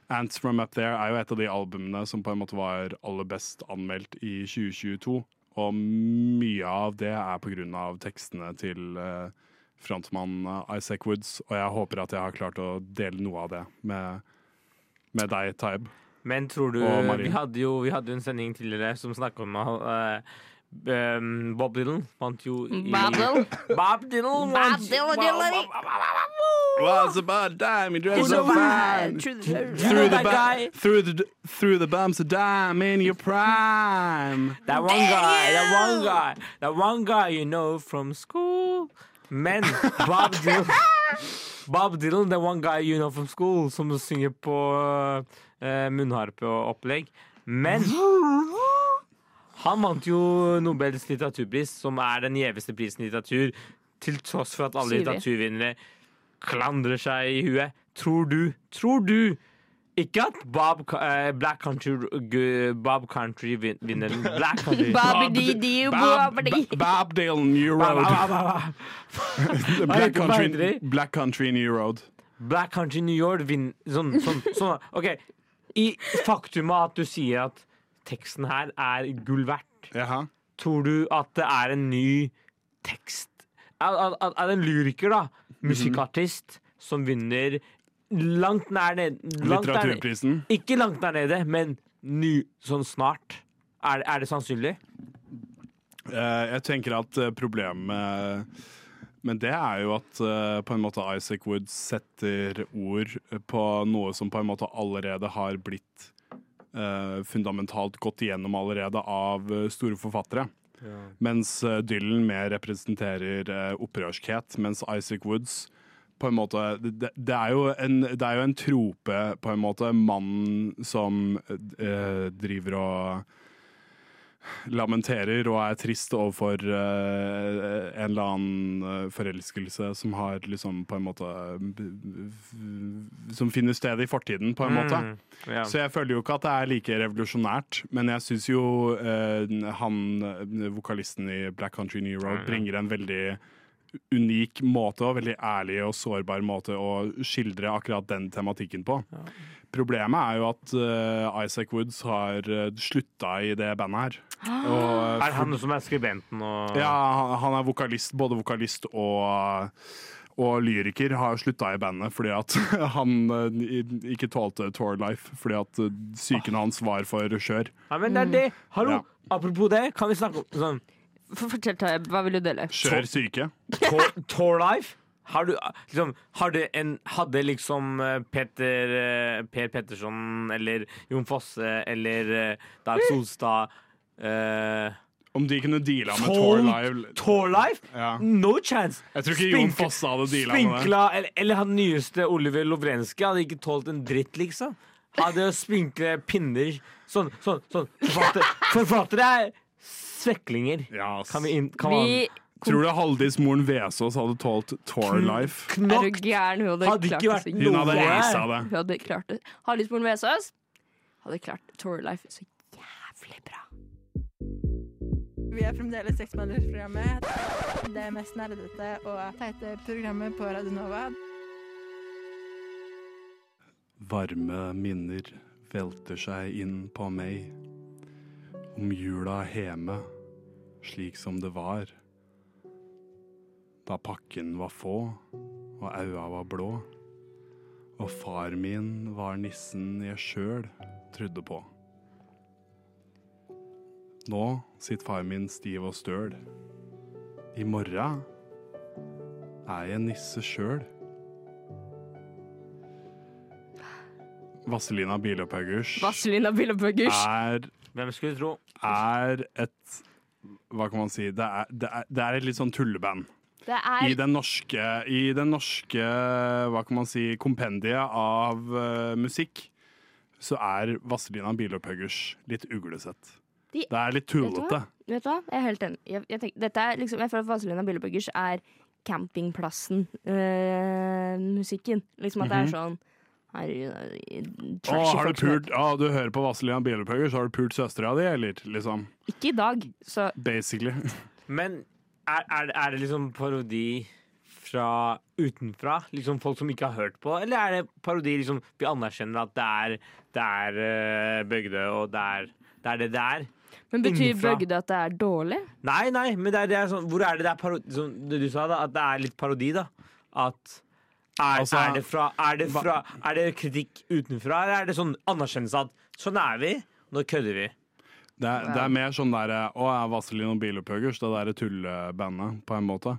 S6: Ants From Up There er jo et av de albumene som på en måte var aller best anmeldt i 2022. Og mye av det er på grunn av tekstene til eh, frontmann Isaac Woods, og jeg håper at jeg har klart å dele noe av det med, med deg, Taib.
S7: Men tror du
S6: Og Marie.
S7: Vi hadde jo vi hadde jo en sending tidligere som snakket om eh, um, Bob Dylan vant jo i
S12: Bob Dylan.
S7: Bob Dylan vant-
S12: Dylan, Dylan.
S6: Was about dime, you dress
S12: Through
S6: so
S12: the
S6: fine.
S12: vine. Through the-
S6: Through the,
S12: That guy.
S6: bu- through the through the bumps of dime in your prime.
S7: That one guy, that one guy, that one guy you know from school. Men Bob Dylan Bob Dylan, the one guy you know from school, som synger på eh, munnharpe og opplegg. Men han vant jo Nobels litteraturpris, som er den gjeveste prisen i litteratur, til tross for at alle
S12: Syvi.
S7: litteraturvinnere klandrer seg i huet. Tror du, tror du ikke at Bob, eh, Black Country gu- Bob Country vin- vinner
S6: <laughs>
S7: Black Country
S12: Bobby dee dee,
S6: Bob,
S12: Bobby.
S6: Bob- Bob Dylan, New
S7: Ba, ba,
S6: Road.
S7: ba, ba, ba.
S6: The
S7: Hva
S6: Black
S7: heter
S6: Country,
S7: Boundary?
S6: Black Country, New Road.
S7: Black Country New York vinner sånn, sånn, sånn. OK. I faktumet at du sier at teksten her er gull verdt, tror du at det er en ny tekst Er, er, er- er det en lyriker, da?
S6: Mhm.
S7: Musikkartist som vinner langt nær ned langt der ned-
S6: Litteraturprisen.
S7: Ikke langt der nede, men ny, sånn snart. Er, er det sannsynlig?
S6: Eh, jeg tenker at eh, problemet Men det er jo at eh, på en måte Isaac Wood setter ord på noe som på en måte allerede har blitt eh, fundamentalt gått igjennom allerede av eh, store forfattere.
S13: Ja.
S6: Mens eh, Dylan mer representerer eh, opprørskhet, mens Isaac Woods på en måte, det, det, er jo en, det er jo en trope, på en måte. Mannen som eh, driver og lamenterer og er trist overfor eh, en eller annen eh, forelskelse som har liksom på en måte eh, Som finner sted i fortiden, på en
S7: Mm,
S6: måte.
S7: ja.
S6: Så jeg føler jo ikke at det er like revolusjonært, men jeg syns jo eh, han eh, vokalisten i Black Country New Road
S7: Ja, ja.
S6: bringer en veldig unik måte og veldig ærlig og sårbar måte å skildre akkurat den tematikken på. Problemet er jo at eh, Isaac Woods har uh, slutta i det bandet her. Og- eh,
S7: er han som er skribenten og
S6: ja, han- han er vokalist, både vokalist og og lyriker har slutta i bandet fordi at <laughs> han eh, i- ikke tålte Tour Life. Fordi at eh, psyken hans var for skjør.
S7: Ja, men det er det. Hallo,
S6: Ja.
S7: apropos det, kan vi snakke om sånn
S12: For- Fortell, Taib, hva vil du dele?
S6: Skjør syke.
S7: Tour, <laughs> tour life? Har du, eh, liksom, har du en, hadde liksom eh, Peter, eh, Per Petterson eller Jon Fosse eller eh, Dag Solstad eh,
S6: Om de kunne deala med
S7: Solgt
S6: Tour Live
S7: Tour Life? No chance!
S6: Jeg tror ikke Jon
S7: Spink-
S6: Fosse hadde deala med det.
S7: Spinkla, eller, eller han nyeste Oliver Lovrenskij hadde ikke tålt en dritt, liksom. Hadde å spinkle pinner Sånn, sånn, sånn. Forfattere, forfattere er sveklinger. kan vi inn, kan man,
S12: Vi
S6: Tror du Haldis-moren Vesaas hadde tålt Tour Life?
S12: Er du gæren? Hun hadde,
S7: Hadde ikke
S12: klart
S7: vært
S12: det så
S6: Hun hadde
S12: jævlig.
S6: acet det.
S12: Hun hadde klart det. Harlysmoren Vesaas hadde klart Tour Life så jævlig bra.
S14: Vi er fremdeles seksmannersprogrammet. Det mest nerdete og teite programmet på Radio Nova.
S6: Varme minner velter seg inn på meg. Om jula hjemme, slik som det var. Da pakken var få, og aua var blå. Og far min var nissen jeg sjøl trodde på. Nå sitter far min stiv og støl. I morgen er jeg nisse sjøl. Vazelina Bilopphøggers
S15: Vazelina Bilopphøggers.
S6: er
S7: Hvem skulle tro?
S6: Er et Hva kan man si? Det er, det er, det er et litt sånn tulleband.
S3: Det er
S6: I den norske, i den norske hva kan man si, kompendiet av eh, musikk, så er Vazelina Bilopphøggers litt uglesett.
S3: De-
S6: det er litt
S3: Vet du
S6: tullete.
S3: hva? Vet du hva? Jeg er helt enig. Jeg, jeg, tenker, dette er liksom, jeg føler at Vazelina Billebuggers er campingplassen-musikken. liksom at det er
S6: Mhm.
S3: sånn Herregud,
S6: Å,
S3: trashy
S6: har
S3: folk
S6: du
S3: som-
S6: pult, å, du hører på Vazelina Bilopphøggers, har du pult søstera di, eller? Liksom,
S3: Ikke i dag, så
S6: basically.
S7: Men er, er, er det liksom parodi fra utenfra? Liksom folk som ikke har hørt på? Eller er det parodi liksom Vi anerkjenner at det er, det er eh, Bøgdø, og det er det er det det er?
S3: Men betyr
S7: Innenfra.
S3: Bøgde at det er dårlig?
S7: Nei, nei, men det er, det er sånn Hvor er det det er parodi som det du sa, da? At det er litt parodi, da? At er,
S6: Altså-
S7: er, det fra, er, det fra, er det kritikk utenfra, eller er det sånn anerkjennelse at sånn er vi, nå kødder vi?
S6: Det er, det er mer sånn der Å, er Vazelina Bilopphøggers, det derre tullebandet, på en måte.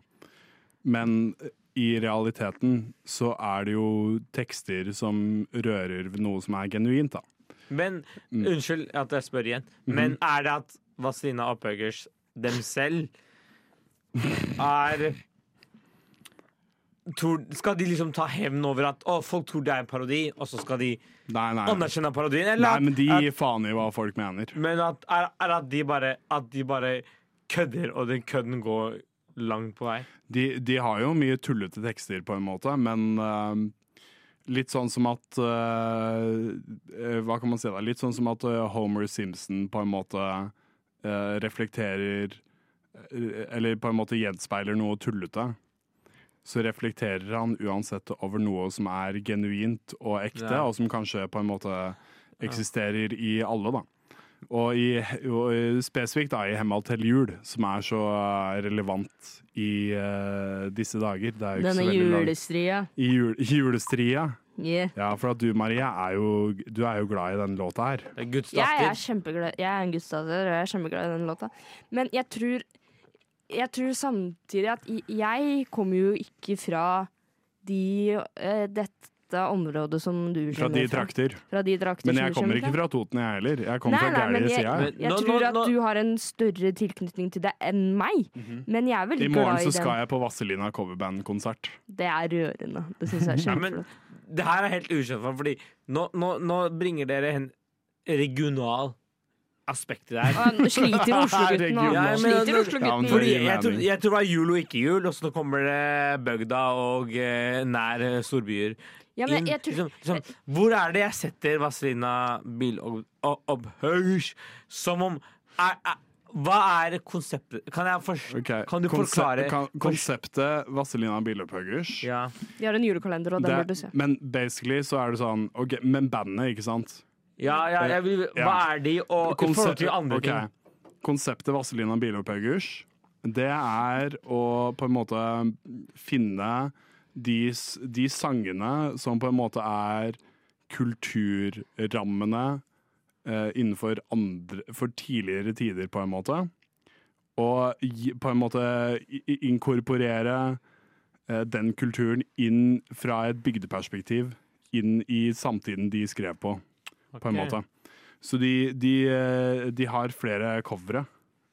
S6: Men i realiteten så er det jo tekster som rører ved noe som er genuint, da.
S7: Men
S6: Mm.
S7: unnskyld at jeg spør igjen,
S6: Mm-hmm.
S7: men er det at Vazelina Opphøggers dem selv er tror, Skal de liksom ta hevn over at å, folk tror det er en parodi, og så skal de anerkjenne parodien? Eller
S6: Nei,
S7: at-
S6: men de
S7: at,
S6: gir faen i hva folk mener.
S7: Men at, er, er at, de bare, at de bare kødder, og den kødden går langt på vei?
S6: De, de har jo mye tullete tekster, på en måte, men eh, litt sånn som at eh, eh, Hva kan man si da? Litt sånn som at eh, Homer Simpson på en måte eh, reflekterer eh, Eller på en måte gjenspeiler noe tullete. Så reflekterer han uansett over noe som er genuint og ekte,
S7: Ja.
S6: og som kanskje på en måte eksisterer i alle, da. Og, i, og i- spesifikt da, i henhold til jul, som er så eh, relevant i eh, disse dager. Det er jo ikke
S15: Denne
S6: så veldig langt-
S15: julestria.
S6: I jul, i julestria.
S15: Yeah.
S6: Ja, for at du, Maria, er jo, du er jo glad i den låta her.
S7: Det er
S3: Jeg er kjempeglad Jeg er en gudsdatter, og jeg er kjempeglad i den låta. Men jeg tror Jeg tror samtidig at i- jeg kommer jo ikke fra de eh, dette området som du
S6: Fra
S3: kjenner
S6: de trakter.
S3: Fra de trakter
S6: Men
S3: som
S6: jeg
S3: du
S6: kommer
S3: kjenner
S6: ikke fra Toten, jeg heller. Jeg kommer
S3: Nei,
S6: fra
S3: nei, men
S6: gærlige
S3: jeg,
S6: sida.
S3: jeg, tror at du har en større tilknytning til det enn meg. Men jeg er
S6: Mhm. I
S3: veldig
S6: morgen
S3: glad i
S6: så
S3: den.
S6: skal jeg på Vazelina coverband-konsert.
S3: Det er rørende. Det syns jeg er
S7: Ja, men-
S3: kjempeflott.
S7: Det her er helt ukjent for meg, fordi nå, nå, nå bringer dere en regional aspekt i det her.
S3: Ah, nå
S6: <laughs>
S3: sliter Oslo-gutten nå.
S7: Ja, men-
S3: Sliter Oslo-gutten.
S7: Fordi jeg, tror- jeg tror det var jul og ikke jul, og så nå kommer det bygda og eh, nær eh, storbyer.
S3: Ja, men
S7: inn.
S3: jeg tror-
S7: liksom, liksom, hvor er det jeg setter Vazelina Bilobhøys? Som om er, er, Hva er konseptet? Kan, jeg for, kan du
S6: Konse-
S7: forklare?
S6: kan- Konseptet Vazelina Bilopphøggers
S3: De har en julekalender, og den burde du se.
S6: Det- Men basically så er det sånn ok, Men bandet, ikke sant?
S7: Ja, ja, jeg vil, hva er de, og i forhold til andre
S6: ok.
S7: ting?
S6: Konseptet Vazelina Bilopphøggers, det er å på en måte finne de, s- de sangene som på en måte er kulturrammene eh, innenfor andre, for tidligere tider, på en måte. Og gi- på en måte i- i- inkorporere eh, den kulturen inn fra et bygdeperspektiv, inn i samtiden de skrev på, på en
S7: Ok.
S6: måte. Så de, de, eh, de har flere covere.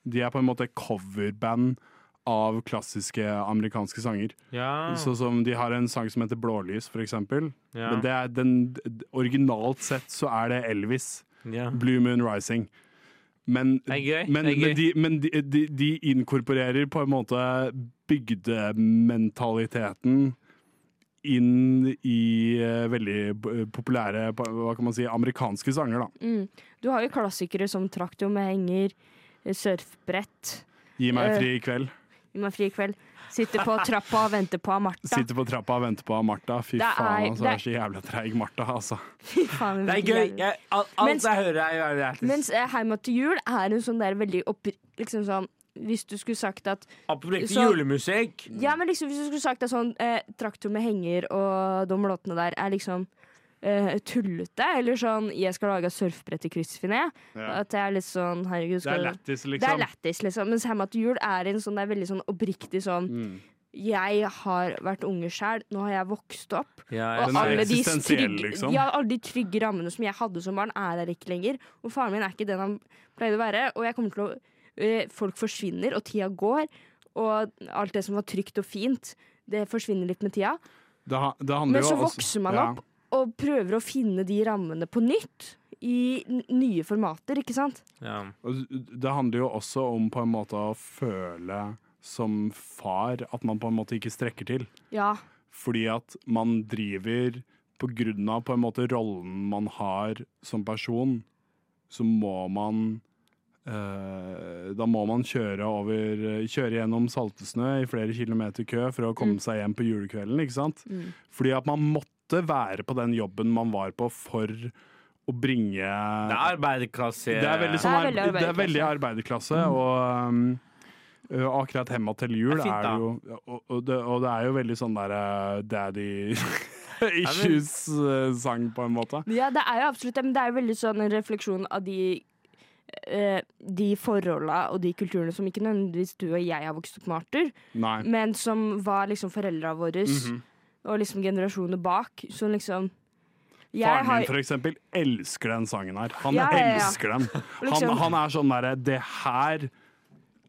S6: De er på en måte coverband av klassiske amerikanske sanger.
S7: Ja.
S6: Så som de har en sang som heter Blålys, for eksempel.
S7: Ah. Ja.
S6: Men det er den, d- d- originalt sett så er det Elvis.
S7: Ja.
S6: Blue Moon Rising. Men,
S7: Det er gøy,
S6: men,
S7: det er
S6: men,
S7: gøy.
S6: de, men de, de, de inkorporerer på en måte bygdementaliteten inn i eh, veldig b- populære på- hva kan man si, amerikanske sanger, da.
S3: Mm. Du har jo klassikere som traktor med henger, eh, surfbrett
S6: Gi meg
S3: Eh,
S6: fri i kveld.
S3: Gi meg fri i kveld. Sitter på trappa og venter på Martha.
S6: Sitter på trappa og venter på Martha. Fy
S3: Det er-
S6: faen, altså.
S3: det
S6: Det
S3: er-
S6: er så jævla treig Martha, altså.
S3: Fy <laughs> faen,
S7: Det er
S3: hvilken
S7: gøy.
S3: gjeng.
S7: Jeg, alt alt
S3: Mens-
S7: jeg hører, er jo lættis.
S3: Mens eh, Heima til jul er en sånn der veldig opp... Liksom sånn Hvis du skulle sagt at
S7: Apropos
S3: så-
S7: julemusikk.
S3: Ja, men liksom hvis du skulle sagt at sånn eh, traktor med henger og de låtene der er liksom eh, tullete. Eller sånn 'jeg skal lage et surfbrett i kryssfiné'.
S6: Ja.
S3: At jeg er litt sånn herregud
S6: Det er
S3: skal du-
S6: lættis, liksom.
S3: Det er lættis, liksom. Mens Hjemme til jul er en sånn, det er veldig sånn oppriktig sånn Jeg har vært unge sjæl, nå har jeg vokst opp.
S7: Ja,
S3: og
S7: den er
S3: alle de,
S7: eksistensiell,
S3: trygge,
S7: liksom.
S3: ja, alle de trygge rammene som jeg hadde som barn, er der ikke lenger. Og faren min er ikke den han pleide å være. Og jeg kommer til å eh, Folk forsvinner, og tida går. Og alt det som var trygt og fint, det forsvinner litt med tida.
S6: Det, ha- det handler
S3: Men så
S6: jo også-
S3: vokser man
S6: ja.
S3: opp og prøver å finne de rammene på nytt. I n- nye formater, ikke sant?
S6: Og Det handler jo også om på en måte å føle som far at man på en måte ikke strekker til.
S3: Ja.
S6: Fordi at man driver på grunn av på en måte rollen man har som person, så må man eh, da må man kjøre, over, kjøre gjennom saltesnø i flere kilometer kø for å komme seg hjem på julekvelden. ikke sant?
S13: Mm.
S6: Fordi at man måtte være på den jobben man var på for å bringe
S7: Det er arbeiderklasse.
S6: det er veldig, sånn, arbe- det er veldig arbeiderklasse, og um, ø, akkurat hemma til jul
S7: Det
S6: er,
S7: er fint, da.
S6: det jo og, og, det, og det er jo veldig sånn der uh, daddy issues-sang, på en måte.
S3: Ja, det er jo absolutt det, men det er jo veldig sånn en refleksjon av de eh, de forholda og de kulturene som ikke nødvendigvis du og jeg har vokst opp med, Arthur,
S6: Nei.
S3: men som var liksom foreldra våre
S6: Mhm.
S3: og liksom generasjoner bak. Som liksom jeg
S6: Faren
S3: har-
S6: min for eksempel elsker den sangen her. Han
S3: Ja, ja, ja.
S6: elsker den. Han,
S3: Liksom-
S6: han er sånn derre Det her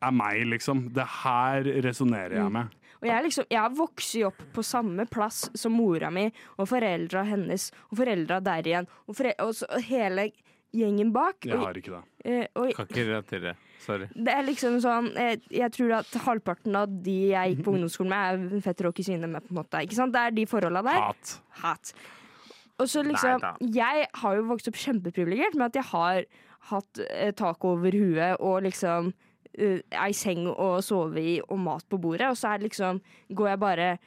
S6: er meg, liksom. Det her resonnerer jeg med.
S3: Og jeg, er liksom, jeg har vokst opp på samme plass som mora mi og foreldra hennes og foreldra der igjen. Og, fore, og, så, og hele gjengen bak.
S7: Jeg
S3: og-
S7: har ikke det.
S3: eh, og,
S7: Kan ikke relatere. Sorry.
S3: det er liksom sånn Jeg, jeg tror at halvparten av de jeg gikk på ungdomsskolen med, er fetter og kusine med, på en måte. Ikke sant? Det er de forholda der.
S6: Hat.
S3: Og så liksom
S6: Neida.
S3: Jeg har jo vokst opp kjempeprivilegert med at jeg har hatt eh, tak over huet og liksom eh, ei seng å sove i og mat på bordet, og så er det liksom Går jeg bare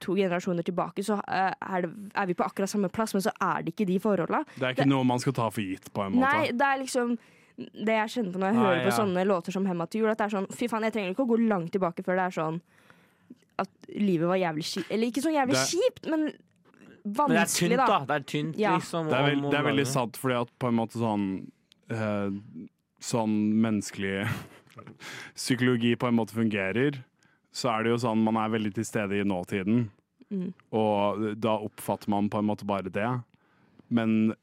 S3: to generasjoner tilbake, så eh, er, det, er vi på akkurat samme plass, men så er det ikke de forholda.
S6: Det er ikke noe man skal ta for gitt, på en måte.
S3: Nei, det er liksom det jeg kjenner på når jeg
S6: Nei,
S3: hører på
S6: ja.
S3: sånne låter som 'Hemma til jul', at det er sånn Fy faen, jeg trenger ikke å gå langt tilbake før det er sånn at livet var jævlig kjipt. Eller ikke sånn jævlig
S6: Det-
S3: kjipt, men
S7: Men det er
S3: vanskelig,
S7: tynt, da. Det er tynt,
S3: Ja.
S7: liksom.
S6: Det er,
S7: om-
S6: vel-
S7: om
S6: det er veldig
S7: dagen.
S6: sant, fordi at på en måte sånn eh, Sånn menneskelig <laughs> psykologi på en måte fungerer, så er det jo sånn man er veldig til stede i nåtiden.
S13: Mm.
S6: Og da oppfatter man på en måte bare det. Men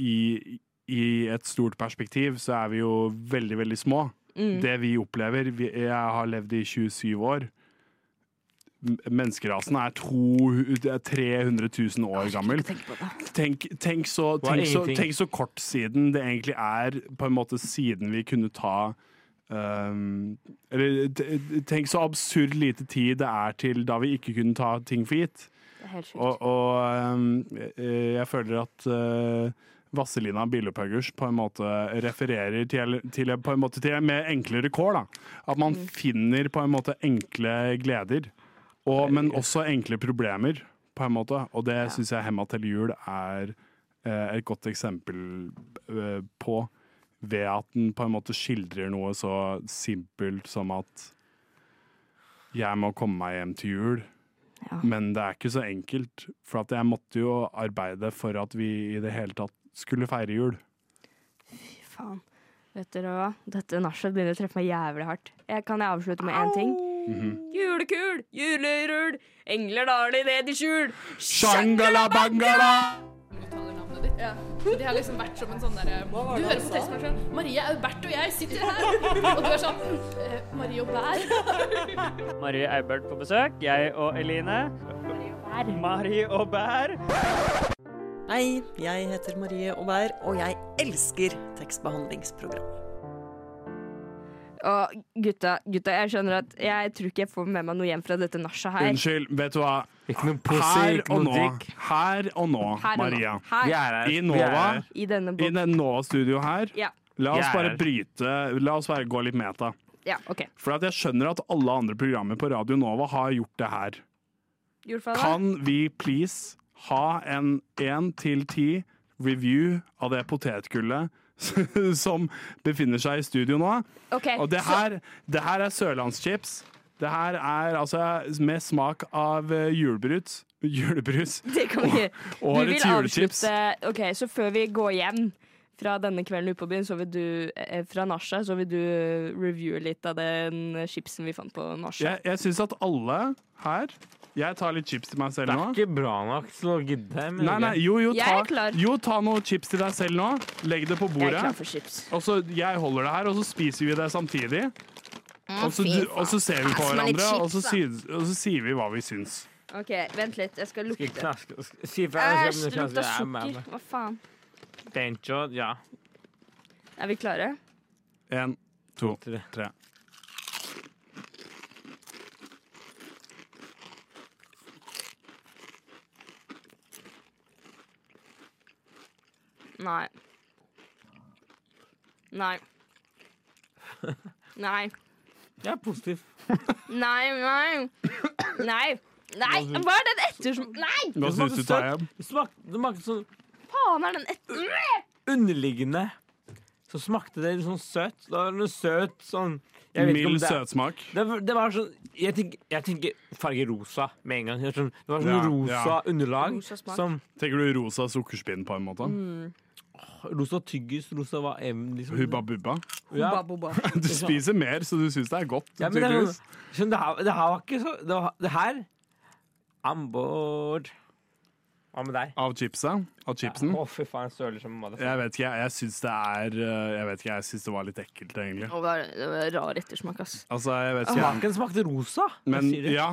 S6: i, i et stort perspektiv så er vi jo veldig, veldig små.
S13: Mm.
S6: Det vi opplever vi, Jeg har levd i 27 år. M- Menneskerasen er to- 300 000 år gammel. Tenk, tenk, så,
S13: Hva er
S6: tenk, så,
S13: ingenting?
S6: tenk så kort siden det egentlig er, på en måte siden vi kunne ta um, Eller t- tenk så absurd lite tid det er til da vi ikke kunne ta ting for gitt.
S3: Det er helt sjukt.
S6: Og, og um, eh, jeg føler at uh, Vazelina Billepuggers på en måte refererer til, til, på en måte til en mer enklere kår. Da. At man finner på en måte enkle gleder, og, men også enkle problemer. På en måte. Og det synes syns jeg 'Hemma til jul' er eh, et godt eksempel eh, på. Ved at den på en måte skildrer noe så simpelt som at jeg må komme meg hjem til jul. Men det er ikke så enkelt, for at jeg måtte jo arbeide for at vi i det hele tatt skulle feire jul.
S3: Fy faen. Vet dere hva? Dette nachet begynner å treffe meg jævlig hardt. Jeg, kan jeg avslutte med én ting?
S6: Mhm.
S3: Julekul, julerull, engler daler ned i skjul.
S6: Shangala-bangala!
S16: Ja. De har liksom vært som en sånn derre Du
S17: det
S16: hører
S17: han
S16: på
S17: sa?
S16: tekstmeldingen Marie Aubert og jeg sitter her. Og du er sånn eh, Marie og Bær.
S17: Marie Eibert på besøk. Jeg og Eline. Marie og Bær.
S18: Hei, jeg heter Marie Aubert, og jeg elsker tekstbehandlingsprogram.
S3: Og gutta, gutta, jeg skjønner at jeg tror ikke jeg får med meg noe hjem fra dette nachet her.
S6: Unnskyld, vet du hva?
S7: pussy, ikke
S6: og
S7: noe
S6: nå,
S7: dick.
S6: her og nå,
S3: Her og nå.
S6: Maria.
S3: Her. Vi er her.
S6: I
S3: Vi er
S6: Nova,
S3: her. I denne
S6: i det Nova-studio her,
S3: Ja.
S6: la oss
S7: Vi er
S6: bare
S7: her.
S6: bryte, la oss bare gå litt meta.
S3: Ja, OK.
S6: For at jeg skjønner at alle andre programmer på Radio Nova har gjort det her.
S3: Julefada?
S6: Kan vi please ha en 1 til 10 review av det potetgullet <laughs> som befinner seg i studio nå?
S3: Ok,
S6: Og det
S3: så-
S6: her, det her er sørlandschips. Det her er altså med smak av eh, julebrus. Julebrus.
S3: Det kan vi ikke.
S6: Å- Årets julechips.
S3: avslutte- Ok, så før vi går hjem fra denne kvelden ute på byen, så vil du, eh, fra nachet, så vil du eh, reviewe litt av den chipsen vi fant på nachet.
S6: Jeg, jeg syns at alle her Jeg tar litt chips til meg selv nå.
S7: Det er ikke bra nok til å gidde. men-
S6: Nei, nei, jo, jo,
S3: Jeg
S6: ta,
S3: er klar.
S6: jo, ta noen chips til deg selv nå. Legg det på bordet.
S3: klar for chips.
S6: Og så jeg holder det her, og så spiser vi det samtidig.
S3: Mm,
S6: Og så,
S3: fy
S6: du- og så ser vi på
S3: faen. Smak litt
S6: hverandre, og så,
S3: chips,
S6: sier, og så sier vi hva vi syns.
S3: OK, vent litt, jeg skal
S7: Skal jeg
S3: lukte.
S7: knaske- sk- Si fra. jeg
S3: Æsj,
S7: skal-
S3: det lukta
S7: jeg er med
S3: sukker.
S7: meg.
S3: Hva faen?
S7: Bencho, ja.
S3: Er vi klare?
S6: Én, to, tre.
S3: Nei.
S7: <laughs>
S3: Nei. Nei.
S7: Jeg er positiv.
S3: Nei, nei. Nei. Nei, hva er den ettersmaken Nei!
S7: Det smakte
S6: synes du,
S7: søtt. Det smakte, det smakte sånn
S3: Faen er den etter...
S7: underliggende. Så smakte det litt sånn søtt. Det var noe søt sånn jeg vet ikke om
S6: Mild
S7: det er-
S6: søtsmak.
S7: Det, var- det var sånn Jeg tenker, jeg tenker farge rosa med en gang. Det var sånn, det var sånn
S6: Ja,
S7: rosa
S6: ja.
S7: underlag som
S6: Tenker du rosa sukkerspinn, på en måte?
S7: Rosa tyggis, rosa hva enn, liksom.
S6: Hubba bubba?
S7: Ja.
S6: <laughs> Du spiser mer, så du syns det er godt.
S7: Ja, men det, er
S6: tydeligvis.
S7: sånn, skjønner, det, her, det her var ikke så Det, var, det her I'm bored. Hva med deg?
S6: Av chipset? Av chipsen?
S7: Å, fy faen, jeg søler som en motherfucker.
S6: Jeg vet ikke, jeg, jeg syns det er eh, Jeg vet ikke, jeg syns det var litt ekkelt, egentlig.
S3: Å, det er- det var rar ettersmak, ass.
S6: Altså, jeg vet ikke
S7: Smaken smakte rosa.
S6: Men
S7: Jeg sier det.
S6: ja.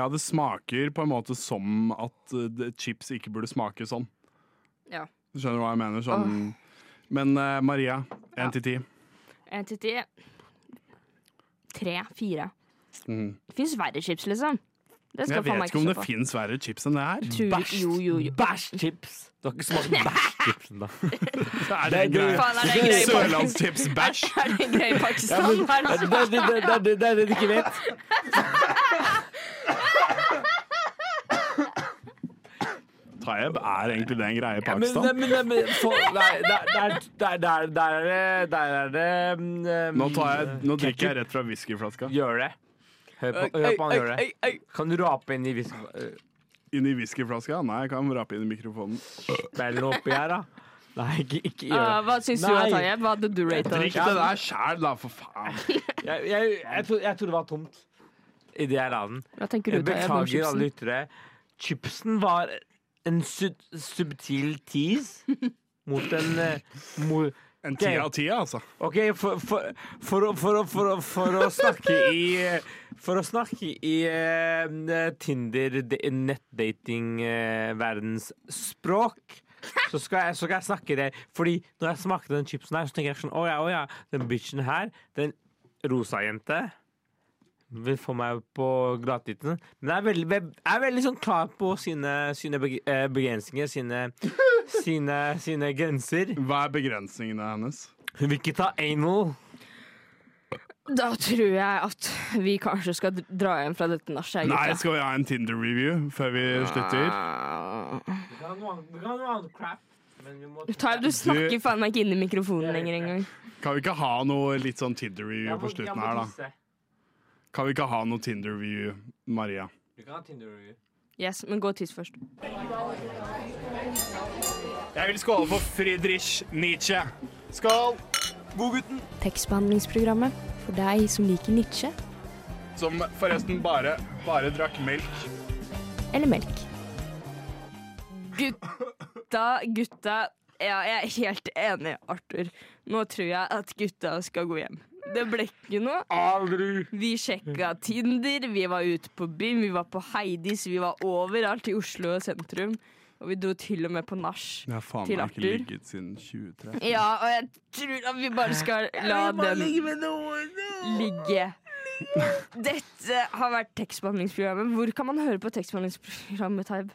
S6: Ja, det smaker på en måte som at eh, det- chips ikke burde smake sånn.
S3: Ja.
S6: Skjønner du hva jeg mener? Sånn. Men eh, Maria, én til ti.
S3: En til ti. Tre, fire.
S6: Mm.
S3: Det fins verre chips, liksom. Det skal
S6: Jeg
S3: faen
S6: vet
S3: meg
S6: ikke om
S3: stå
S6: det
S3: på.
S6: fins verre chips enn det her.
S3: <laughs> Tror- jo, jo, jo.
S7: Bæsjchips. Du har ikke smakt bæsjchipsen, da.
S6: Er det en
S7: Det er
S6: greie?
S7: gøy. Faen, er det en greie?
S6: Sørlandschips-bæsj.
S3: Er det en greie i
S7: Ja,
S3: Pakistan?
S7: men-
S3: Hva <laughs> er det som-
S7: det, det, det, det, det er det du ikke vet.
S6: Taeb, er egentlig det en greie i
S7: Ja, men,
S6: Pakistan?
S7: men, men, men for, nei, der, der, der, der, der er det Der er det mm,
S6: Nå, tar jeg, nå drikker
S7: ketchup.
S6: jeg rett fra whiskyflaska.
S7: Gjør det. Hør på,
S6: Øy,
S7: hør på han
S6: øy,
S7: gjøre
S6: øy,
S7: det. Kan du rape inn i eh, whiskyen?
S6: Inni whiskyflaska? Nei, jeg kan rape inn i mikrofonen.
S7: Spill noe oppi her, da. Nei, ikke, ikke
S3: Ah,
S7: gjør det.
S3: hva syns du, da,
S7: Nei.
S3: Tayyeb? Hva hadde du rata?
S6: Drikk det der sjæl, da, for faen.
S7: Jeg, jeg, jeg, tro, jeg tror det var tomt idet jeg la den.
S3: Hva tenker du,
S7: jeg
S3: Tayyip, om
S7: beklager
S3: chipsen?
S7: alle lyttere. Chipsen var en sub subtil tease mot en eh, mo
S6: En ti av ti, altså.
S7: OK, for, for, for, å- for, å- for, å- for å snakke i eh, For å snakke i eh, Tinder, de- nettdating-verdens språk så skal, jeg, så skal jeg snakke det Fordi når jeg smakte den chipsen her, så tenker jeg sånn Å ja, å ja, den bitchen her, den rosa jente vil få meg på gladtitten. Men jeg er veldig, jeg er veldig sånn klar på sine, sine beg- eh, begrensninger, sine, sine, sine grenser.
S6: Hva er begrensningene hennes?
S7: Hun vil ikke ta anal.
S3: Da tror jeg at vi kanskje skal d- dra hjem fra dette nachet,
S6: Nei,
S3: gutta.
S6: skal vi ha en Tinder-review før vi slutter?
S3: Tayyip, Ah. du snakker faen meg ikke inn i mikrofonen lenger engang.
S6: Kan vi ikke ha noe litt sånn Tinder-review på slutten her, da? Kan vi ikke ha noe Tinder-review, Maria?
S7: Du kan ha Tinder-review.
S3: Yes, men gå og tiss først.
S6: Jeg vil skåle for Friedrich Nietzsche. Skål! Godgutten.
S11: Tekstbehandlingsprogrammet for deg som liker Nietzsche
S6: Som forresten bare, bare drakk melk.
S11: eller melk.
S3: Gutta, gutta. Ja, jeg er helt enig, Arthur. Nå tror jeg at gutta skal gå hjem. Det ble ikke noe.
S7: Aldri!
S3: Vi sjekka Tinder, vi var ute på byen, vi var på Heidis, vi var overalt i Oslo sentrum. Og vi dro til og med på nach
S6: Jeg har faen
S3: til
S6: meg ikke
S3: Arthur.
S6: ligget siden 2013.
S3: Ja, og jeg tror at vi bare skal la den ligge. Dette har vært tekstbehandlingsprogrammet. Hvor kan man høre på tekstbehandlingsprogrammet, Taib?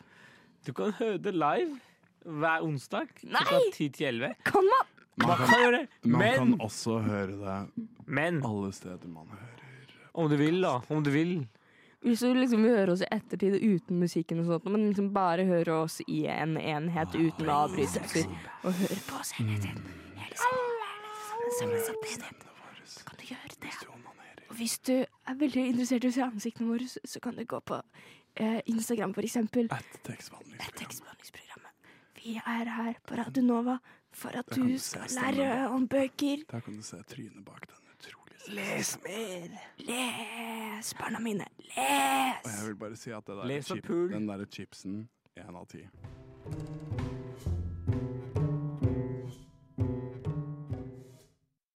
S7: Du kan høre det live hver onsdag
S3: Nei!
S7: klokka 10 til 11.
S3: Kan man?
S7: Man kan gjøre det,
S6: Man kan
S7: men
S6: også høre det alle steder man hører.
S7: om du vil, da. Om du vil.
S3: Hvis du liksom vil høre oss i ettertid uten musikken og sånt, men liksom bare høre oss i en enhet uten avbrytelser, og høre på oss hele tiden. Hele tiden. Hele tiden. Sammen, sammen, sammen. Så kan du gjøre det. Hvis du er veldig interessert i å se ansiktene våre, så- så kan du gå på eh, Instagram, for eksempel. At tekstbehandlingsprogrammet. Vi er her på Radio Nova for at
S6: Da kan
S3: du
S6: du se
S3: skal
S6: stemmen.
S3: lære om bøker.
S6: Der kan du se trynet bak den utrolig
S3: Les mer! Les, barna mine. Les!
S6: Og jeg vil bare si at det der
S7: Les og
S6: chip,
S7: pull.
S6: den derre chipsen, én av ti.